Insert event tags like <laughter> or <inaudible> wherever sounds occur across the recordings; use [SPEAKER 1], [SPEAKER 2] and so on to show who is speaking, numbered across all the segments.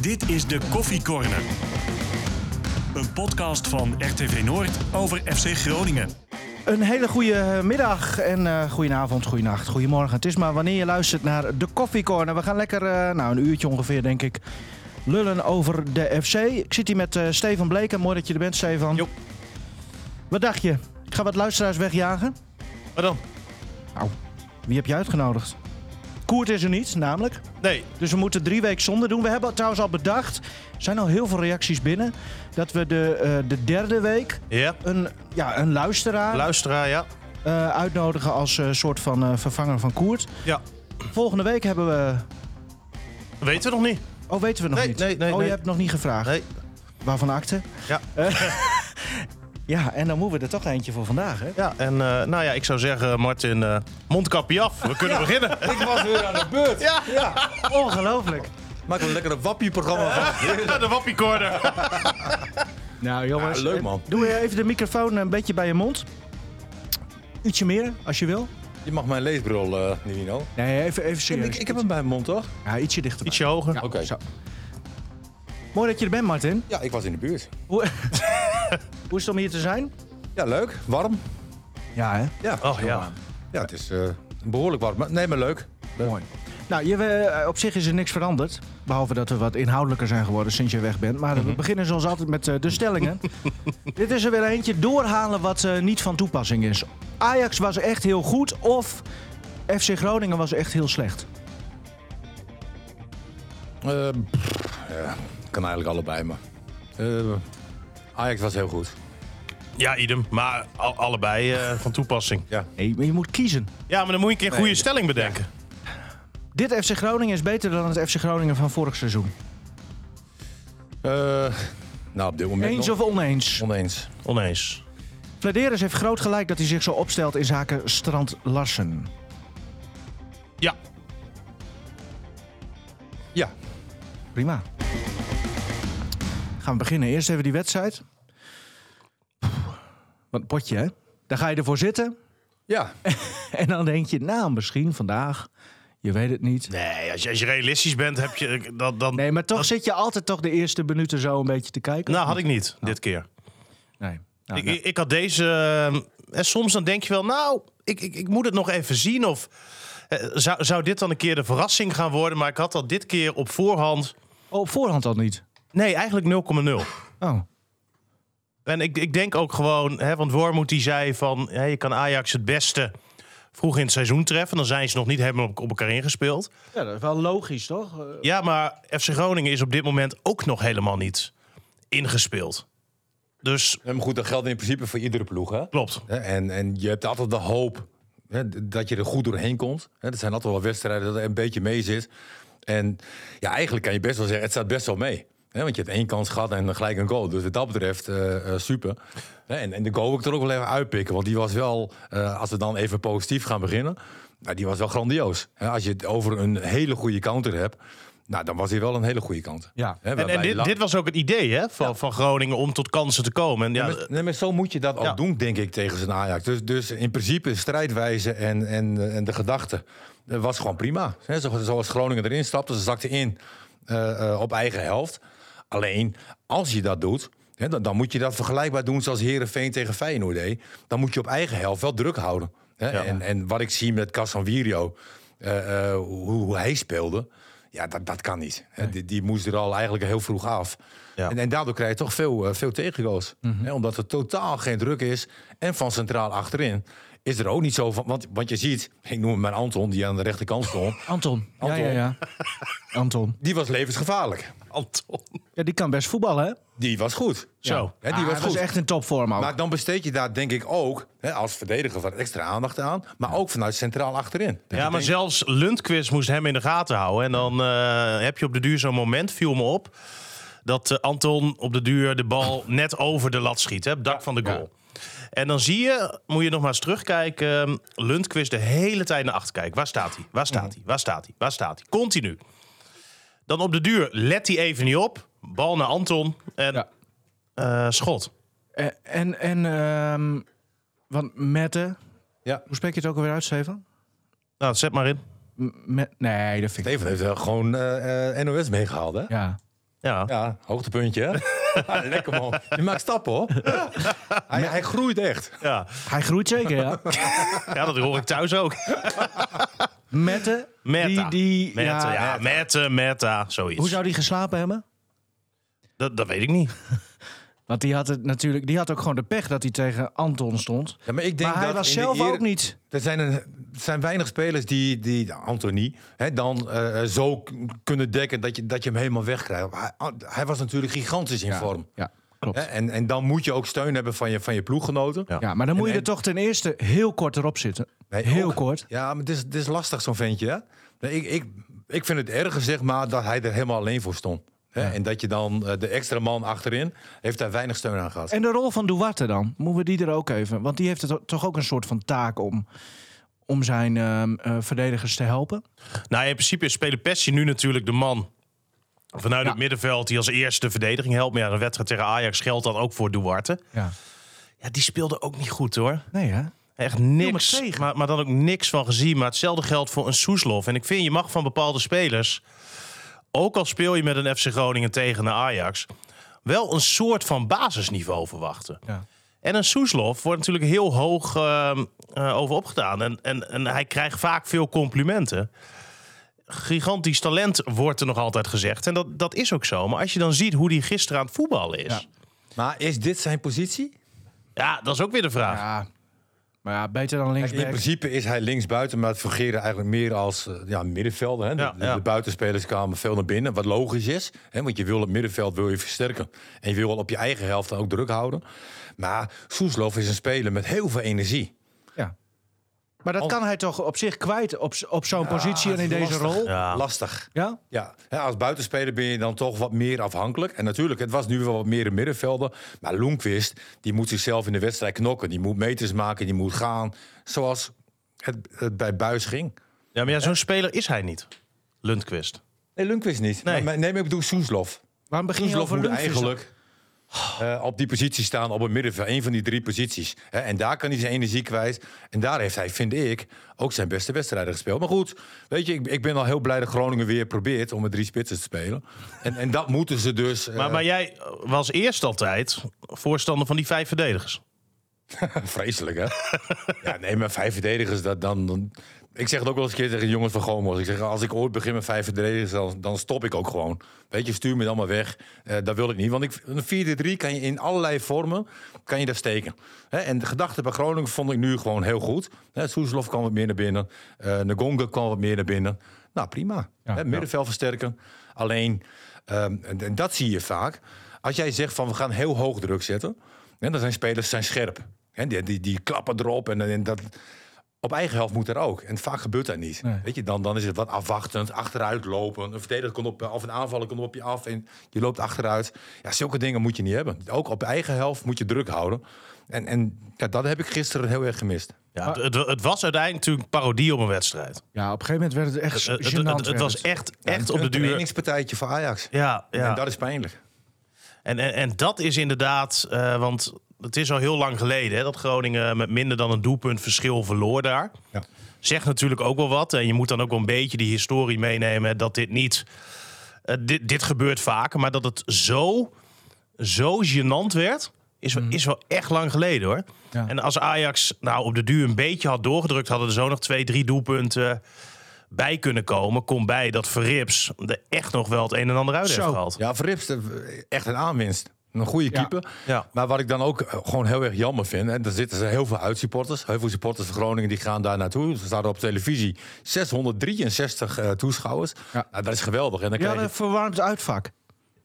[SPEAKER 1] Dit is de Koffiecorner. Een podcast van RTV Noord over FC Groningen.
[SPEAKER 2] Een hele goede middag en eh goedenavond, goedenacht, goedemorgen. Het is maar wanneer je luistert naar de Coffee Corner. We gaan lekker, eh, nou een uurtje ongeveer denk ik, lullen over de FC. Ik zit hier met eh Stefan Bleken. Mooi dat je er bent, Stefan.
[SPEAKER 3] Joep.
[SPEAKER 2] Wat dacht je? Ik ga wat luisteraars wegjagen. Nou,
[SPEAKER 3] Maar dan?
[SPEAKER 2] Wie heb je uitgenodigd? Koert is er niet, namelijk.
[SPEAKER 3] Nee.
[SPEAKER 2] Dus we moeten drie weken zonder doen. We hebben trouwens al bedacht, er zijn al heel veel reacties binnen, dat we de, eh, de derde week
[SPEAKER 3] Ja.
[SPEAKER 2] een, ja, een luisteraar
[SPEAKER 3] Luisteraar, ja.
[SPEAKER 2] eh, uitnodigen als eh, soort van eh, vervanger van Koert.
[SPEAKER 3] Ja.
[SPEAKER 2] Volgende week hebben we.
[SPEAKER 3] Dat weten we nog niet.
[SPEAKER 2] Oh, weten we nog
[SPEAKER 3] Nee,
[SPEAKER 2] niet.
[SPEAKER 3] nee, nee,
[SPEAKER 2] oh,
[SPEAKER 3] nee.
[SPEAKER 2] je hebt nog niet gevraagd.
[SPEAKER 3] Nee.
[SPEAKER 2] Waarvan akte?
[SPEAKER 3] Ja.
[SPEAKER 2] Eh, <laughs> ja, en dan moeten we er toch eentje voor vandaag, hè?
[SPEAKER 3] Ja, en eh, nou ja, ik zou zeggen, Martin, eh mondkapje af. We kunnen <laughs> beginnen.
[SPEAKER 4] Ik was weer aan de beurt. Ja.
[SPEAKER 2] Ongelooflijk.
[SPEAKER 4] Maak er lekker een wappie-programma van.
[SPEAKER 3] de wappiekorder.
[SPEAKER 2] Nou, jongens.
[SPEAKER 4] Ja, leuk,
[SPEAKER 2] eh,
[SPEAKER 4] man.
[SPEAKER 2] Doe even de microfoon een beetje bij je mond. Ietsje meer, als je wil.
[SPEAKER 4] Je mag mijn leesbril, eh Nivino.
[SPEAKER 2] Nee, even, even serieus.
[SPEAKER 4] Ik, ik heb hem bij mijn mond, toch?
[SPEAKER 2] Ja, ietsje dichter.
[SPEAKER 3] Ietsje hoger.
[SPEAKER 4] Oké.
[SPEAKER 2] Zo. Mooi dat je er bent, Martin.
[SPEAKER 4] Ja, ik was in de buurt.
[SPEAKER 2] Hoe, <laughs> Hoe is het om hier te zijn?
[SPEAKER 4] Ja, leuk. Warm.
[SPEAKER 2] Ja, hè?
[SPEAKER 4] Ja.
[SPEAKER 3] Oh ja.
[SPEAKER 4] Ja, het is eh, behoorlijk warm. Maar- Nee, maar leuk.
[SPEAKER 2] Mooi. Nou, je, eh, op zich is er niks veranderd. Behalve dat we wat inhoudelijker zijn geworden sinds je weg bent. Maar
[SPEAKER 4] Mhm.
[SPEAKER 2] we beginnen zoals altijd met eh, de
[SPEAKER 4] <laughs>
[SPEAKER 2] stellingen. Dit is er weer eentje. Doorhalen wat eh, niet van toepassing is. Ajax was echt heel goed of FC Groningen was echt heel slecht.
[SPEAKER 4] Eh, pff, ja, kan eigenlijk allebei, maar... eh, Ajax was heel goed.
[SPEAKER 3] Ja, idem. Maar al- allebei eh, van toepassing.
[SPEAKER 2] Nee, maar je moet kiezen.
[SPEAKER 3] Ja, maar dan moet je een keer een goede stelling bedenken.
[SPEAKER 2] Dit FC Groningen is beter dan het FC Groningen van vorig seizoen.
[SPEAKER 4] Eh, nou, op dit moment
[SPEAKER 2] Eens
[SPEAKER 4] nog
[SPEAKER 2] of oneens?
[SPEAKER 4] oneens.
[SPEAKER 3] Oneens.
[SPEAKER 2] Flederis heeft groot gelijk dat hij zich zo opstelt in zaken Strand Larsen.
[SPEAKER 3] Ja.
[SPEAKER 4] Ja.
[SPEAKER 2] Prima. Gaan we beginnen. Eerst even die wedstrijd. Wat een potje, hè? Daar ga je ervoor zitten. <laughs>
[SPEAKER 4] <laughs> Ja.
[SPEAKER 2] En dan denk je, nou, misschien vandaag. Je weet het niet.
[SPEAKER 3] Nee, als je, als je realistisch bent, heb je dat dan.
[SPEAKER 2] Nee, maar toch zit je altijd toch de eerste minuten zo een beetje te kijken.
[SPEAKER 3] Nou, had ik niet dit keer.
[SPEAKER 2] Nee. Nou,
[SPEAKER 3] Ik,
[SPEAKER 2] nou.
[SPEAKER 3] ik, ik had deze. eh, en soms dan denk je wel, nou, ik, ik, ik moet het nog even zien. Of eh, zou, zou dit dan een keer de verrassing gaan worden? Maar ik had dat dit keer op voorhand.
[SPEAKER 2] Oh, op voorhand al niet.
[SPEAKER 3] Nee, eigenlijk 0,0.
[SPEAKER 2] Oh,
[SPEAKER 3] En ik, ik denk ook gewoon, hè, want Wormoed die zei van... Hè, je kan Ajax het beste vroeg in het seizoen treffen. Dan zijn ze nog niet helemaal op, op elkaar ingespeeld.
[SPEAKER 2] ja, dat is wel logisch, toch? Eh,
[SPEAKER 3] Ja, maar FC Groningen is op dit moment ook nog helemaal niet ingespeeld. Dus
[SPEAKER 4] Nee, Maar goed, dat geldt in principe voor iedere ploeg, hè?
[SPEAKER 3] klopt.
[SPEAKER 4] Hè, En, en je hebt altijd de hoop hè, d- dat je er goed doorheen komt. Hè, Er zijn altijd wel wedstrijden dat er een beetje mee zit. En ja, eigenlijk kan je best wel zeggen, het staat best wel mee. Hè, want je hebt één kans gehad en gelijk een goal. Dus wat dat betreft eh, eh, super. Hè, En, en de goal wil ik er ook wel even uitpikken. Want die was wel, eh, als we dan even positief gaan beginnen... Nou, die was wel grandioos. Hè, Als je het over een hele goede counter hebt... Nou, dan was hij wel een hele goede counter.
[SPEAKER 2] Ja.
[SPEAKER 4] Hè,
[SPEAKER 3] En,
[SPEAKER 4] waarbij
[SPEAKER 3] en dit,
[SPEAKER 4] La-
[SPEAKER 3] dit was ook het idee hè, van, van Groningen om tot kansen te komen. En ja,
[SPEAKER 4] Nee, maar, nee, maar zo moet je dat ook
[SPEAKER 3] Ja.
[SPEAKER 4] doen, denk ik, tegen zijn Ajax. Dus, dus in principe strijdwijze en, en, en de gedachte eh, was gewoon prima. Hè, zo- Zoals Groningen erin stapte, ze zakte in eh, eh, op eigen helft. Alleen, als je dat doet, hè, dan, dan moet je dat vergelijkbaar doen zoals Herenveen tegen Feyenoord deed. Dan moet je op eigen helft wel druk houden. Hè?
[SPEAKER 3] Ja.
[SPEAKER 4] En, en wat ik zie met Casanvirio, eh, eh, hoe, hoe hij speelde... Ja, dat, dat kan niet. Hè, Die, die moest er al eigenlijk heel vroeg af.
[SPEAKER 3] Ja.
[SPEAKER 4] En, en daardoor krijg je toch veel, eh, veel tegengoals. Hè, omdat er totaal geen druk is. En van centraal achterin is er ook niet zo van. Want, want je ziet, ik noem hem maar Anton, die aan de rechterkant <laughs> stond.
[SPEAKER 2] Anton.
[SPEAKER 4] Anton.
[SPEAKER 2] Ja, ja, <laughs> ja. Anton.
[SPEAKER 4] Die was levensgevaarlijk.
[SPEAKER 3] <laughs> Anton.
[SPEAKER 2] Ja, die kan best voetballen, hè?
[SPEAKER 4] Die was goed.
[SPEAKER 3] Zo.
[SPEAKER 4] Hè, die
[SPEAKER 2] Ah,
[SPEAKER 4] was
[SPEAKER 2] hij
[SPEAKER 4] goed.
[SPEAKER 2] echt in topvorm ook.
[SPEAKER 4] Maar dan besteed je daar denk ik ook hè, als verdediger wat extra aandacht aan. Maar ook vanuit centraal achterin. Dat
[SPEAKER 3] Ja,
[SPEAKER 4] je
[SPEAKER 3] maar
[SPEAKER 4] denkt,
[SPEAKER 3] zelfs Lundqvist moest hem in de gaten houden. En dan eh, heb je op de duur zo'n moment, viel me op... dat eh, Anton op de duur de
[SPEAKER 2] <laughs>
[SPEAKER 3] bal net over de lat schiet. Hè, op het dak van de goal. En dan zie je, moet je nog maar eens terugkijken... ehm, Lundqvist de hele tijd naar achter kijken. Waar staat hij? Waar
[SPEAKER 2] Mhm.
[SPEAKER 3] staat hij? Waar staat hij? Waar staat hij? Continu. Dan op de duur let hij even niet op. Bal naar Anton en
[SPEAKER 2] Ja.
[SPEAKER 3] eh, schot.
[SPEAKER 2] Eh, En, en, ehm want Mette...
[SPEAKER 4] Ja.
[SPEAKER 2] Hoe spreek je het ook alweer uit, Steven?
[SPEAKER 3] Nou, zet maar in.
[SPEAKER 2] M- me- nee, dat vind ik...
[SPEAKER 4] Steven heeft wel gewoon eh, eh, NOS meegehaald. Hè?
[SPEAKER 2] Ja.
[SPEAKER 3] Ja.
[SPEAKER 4] Ja, <laughs> hoogtepuntje. hè? Ja, Lekker man. Je maakt stappen <laughs> hoor. Hij, hij groeit echt.
[SPEAKER 3] Ja.
[SPEAKER 2] Hij groeit zeker, ja.
[SPEAKER 3] ja, dat hoor ik thuis ook.
[SPEAKER 2] <laughs> Mette. <laughs>
[SPEAKER 3] Meta.
[SPEAKER 2] Die, die,
[SPEAKER 3] meta, ja,
[SPEAKER 2] ja,
[SPEAKER 3] meta, meta, zoiets.
[SPEAKER 2] Hoe zou die geslapen hebben?
[SPEAKER 3] dat, dat weet ik niet.
[SPEAKER 2] Want die had, het natuurlijk, die had ook gewoon de pech dat hij tegen Anton stond.
[SPEAKER 4] Ja, maar ik denk
[SPEAKER 2] Maar hij
[SPEAKER 4] dat
[SPEAKER 2] was
[SPEAKER 4] in de
[SPEAKER 2] zelf
[SPEAKER 4] Eredivisie-
[SPEAKER 2] ook niet.
[SPEAKER 4] Er zijn, een, er zijn weinig spelers die, die Anthony hè, dan eh, zo k- kunnen dekken dat je, dat je hem helemaal wegkrijgt. Hij, ah, hij was natuurlijk gigantisch in vorm.
[SPEAKER 2] Ja, klopt.
[SPEAKER 4] Hè, en, en dan moet je ook steun hebben van je, van je ploeggenoten.
[SPEAKER 3] Ja.
[SPEAKER 2] Ja, maar dan moet je
[SPEAKER 4] en-
[SPEAKER 2] er toch ten eerste heel kort erop zitten.
[SPEAKER 4] Nee,
[SPEAKER 2] heel
[SPEAKER 4] ook-
[SPEAKER 2] kort.
[SPEAKER 4] Ja, maar het is, het is lastig zo'n ventje. Hè? Nee, ik, ik, ik vind het erger zeg maar dat hij er helemaal alleen voor stond. Hè? En dat je dan eh, de extra man achterin heeft daar weinig steun aan gehad.
[SPEAKER 2] En de rol van Duarte dan? Moeten we die er ook even? Want die heeft het toch ook een soort van taak om, om zijn ehm, eh, verdedigers te helpen.
[SPEAKER 3] <laughs> Nou, in principe is spelen Pessie nu natuurlijk de man vanuit het middenveld die als eerste de verdediging helpt. Maar ja, de wedstrijd tegen Ajax geldt dat ook voor Duarte.
[SPEAKER 2] Ja.
[SPEAKER 3] Ja, die speelde ook niet goed hoor.
[SPEAKER 2] Nee, hè?
[SPEAKER 3] Echt
[SPEAKER 2] Viel me
[SPEAKER 3] niks.
[SPEAKER 2] tegen.
[SPEAKER 3] Maar, maar dan ook niks van gezien. Maar hetzelfde geldt voor een Soeslof. En ik vind, je mag van bepaalde spelers, ook al speel je met een FC Groningen tegen een Ajax, wel een soort van basisniveau verwachten.
[SPEAKER 2] Ja.
[SPEAKER 3] En een Soeslof wordt natuurlijk heel hoog ehm, eh, over opgedaan. En, en, en hij krijgt vaak veel complimenten. Gigantisch talent wordt er nog altijd gezegd. En dat, dat is ook zo. Maar als je dan ziet hoe die gisteren aan het voetballen is. Ja,
[SPEAKER 2] Ja.
[SPEAKER 4] Maar is dit zijn positie?
[SPEAKER 3] dat is ook weer de vraag.
[SPEAKER 2] ja. Maar ja, beter dan
[SPEAKER 4] Kijk, in
[SPEAKER 2] linksback.
[SPEAKER 4] principe is hij linksbuiten, maar het fungeren eigenlijk meer als eh, ja, middenvelder. Hè? De-
[SPEAKER 3] Ja,
[SPEAKER 4] de,
[SPEAKER 3] ja.
[SPEAKER 4] de buitenspelers kwamen veel naar binnen, wat logisch is. Hè? Want je wil het middenveld wil je versterken. En je wil wel op je eigen helft dan ook druk houden. Maar Soeslof is een speler met heel veel
[SPEAKER 3] Ah,
[SPEAKER 4] energie.
[SPEAKER 2] Ja. Maar dat kan hij toch op zich kwijt op, z- op zo'n positie en in deze
[SPEAKER 4] Lastig.
[SPEAKER 2] rol?
[SPEAKER 3] Ja.
[SPEAKER 4] Lastig.
[SPEAKER 2] Ja?
[SPEAKER 4] Ja, hè, als buitenspeler ben je dan toch wat meer afhankelijk. En natuurlijk, het was nu wel wat meer een middenvelder. Maar Loenquist, die moet zichzelf in de wedstrijd knokken. Die moet meters maken, die moet gaan. Zoals het, het bij Buis ging.
[SPEAKER 3] Ja, maar ja, zo'n speler is hij niet. Lundqvist.
[SPEAKER 4] Nee, Loenquist niet.
[SPEAKER 3] Nee.
[SPEAKER 4] Nee, maar, nee maar ik bedoel Soeslof.
[SPEAKER 2] Waarom begin je
[SPEAKER 4] Soeslof
[SPEAKER 2] over
[SPEAKER 4] moet
[SPEAKER 2] Lundqvist?
[SPEAKER 4] eigenlijk eh, op die positie staan, op het middenveld. Een van die drie posities. Hè, en daar kan hij zijn energie kwijt. En daar heeft hij, vind ik, ook zijn beste wedstrijden gespeeld. Maar goed, weet je, ik, ik ben al heel blij dat Groningen weer probeert om met drie spitsen te spelen. En, en dat moeten ze dus... eh,
[SPEAKER 3] Maar, maar jij was eerst altijd voorstander van die vijf verdedigers.
[SPEAKER 4] <laughs> Vreselijk, hè? ja, nee, maar vijf verdedigers, dat, dan, dan... Ik zeg het ook wel eens een keer tegen de jongens van Gomos. Ik zeg, als ik ooit begin met vijf verdedigers, dan, dan stop ik ook gewoon. Weet je, stuur me dan maar weg. Eh, dat wil ik niet. Want ik, een 4-3 kan je in allerlei vormen kan je daar steken. Hè, en de gedachte bij Groningen vond ik nu gewoon heel goed. Hè, Soeslof kwam wat meer naar binnen. Eh Ngonga kwam wat meer naar binnen. Nou, prima. Hè, middenveld versterken. Alleen, ehm, en, en dat zie je vaak. Als jij zegt van, we gaan heel hoog druk zetten... En dan zijn spelers zijn scherp. En die, die, die klappen erop. En, en dat, op eigen helft moet er ook. En vaak gebeurt dat niet.
[SPEAKER 2] Nee.
[SPEAKER 4] Weet je, dan, dan is het wat afwachtend, achteruit lopen. Een verdediger komt op, of een aanvaller komt op je af en je loopt achteruit. Ja, zulke dingen moet je niet hebben. Ook op eigen helft moet je druk houden. En, en ja, dat heb ik gisteren heel erg gemist.
[SPEAKER 3] Ja,
[SPEAKER 2] Ah.
[SPEAKER 3] het, het- het was uiteindelijk natuurlijk een parodie op een wedstrijd.
[SPEAKER 2] Ja, op een gegeven moment werd het echt
[SPEAKER 3] Het, het,
[SPEAKER 2] gênant.
[SPEAKER 3] het- het
[SPEAKER 2] werd
[SPEAKER 3] was
[SPEAKER 2] het.
[SPEAKER 3] echt, echt op de
[SPEAKER 4] Een
[SPEAKER 3] duur.
[SPEAKER 4] trainingspartijtje voor Ajax.
[SPEAKER 3] Ja,
[SPEAKER 4] En
[SPEAKER 3] ja.
[SPEAKER 4] dat is pijnlijk.
[SPEAKER 3] En, en, en dat is inderdaad, eh, want het is al heel lang geleden hè, dat Groningen met minder dan een doelpunt verschil verloor daar.
[SPEAKER 4] Ja.
[SPEAKER 3] Zegt natuurlijk ook wel wat. En je moet dan ook wel een beetje die historie meenemen hè, dat dit niet. eh, dit, dit gebeurt vaker, maar dat het zo, zo gênant werd. Is, wel- is wel echt lang geleden hoor.
[SPEAKER 2] Mhm. Ja.
[SPEAKER 3] En als Ajax nou op de duur een beetje had doorgedrukt, hadden er zo nog twee, drie doelpunten bij kunnen komen. Kom bij dat Verrips er echt nog wel het een en ander uit heeft
[SPEAKER 2] Zo.
[SPEAKER 3] gehaald.
[SPEAKER 4] Ja, Verrips, eh, echt een aanwinst. Een
[SPEAKER 2] Ja.
[SPEAKER 4] goede keeper.
[SPEAKER 3] Ja.
[SPEAKER 4] Maar wat ik dan ook eh, gewoon heel erg jammer vind... en daar zitten ze heel veel uitsupporters. Heel veel supporters van Groningen die gaan daar naartoe. Ze staan op televisie. 663 eh, toeschouwers.
[SPEAKER 2] Ja.
[SPEAKER 4] Nou, dat is geweldig. En dan
[SPEAKER 2] Ja,
[SPEAKER 4] krijg je
[SPEAKER 2] een verwarmd uitvak.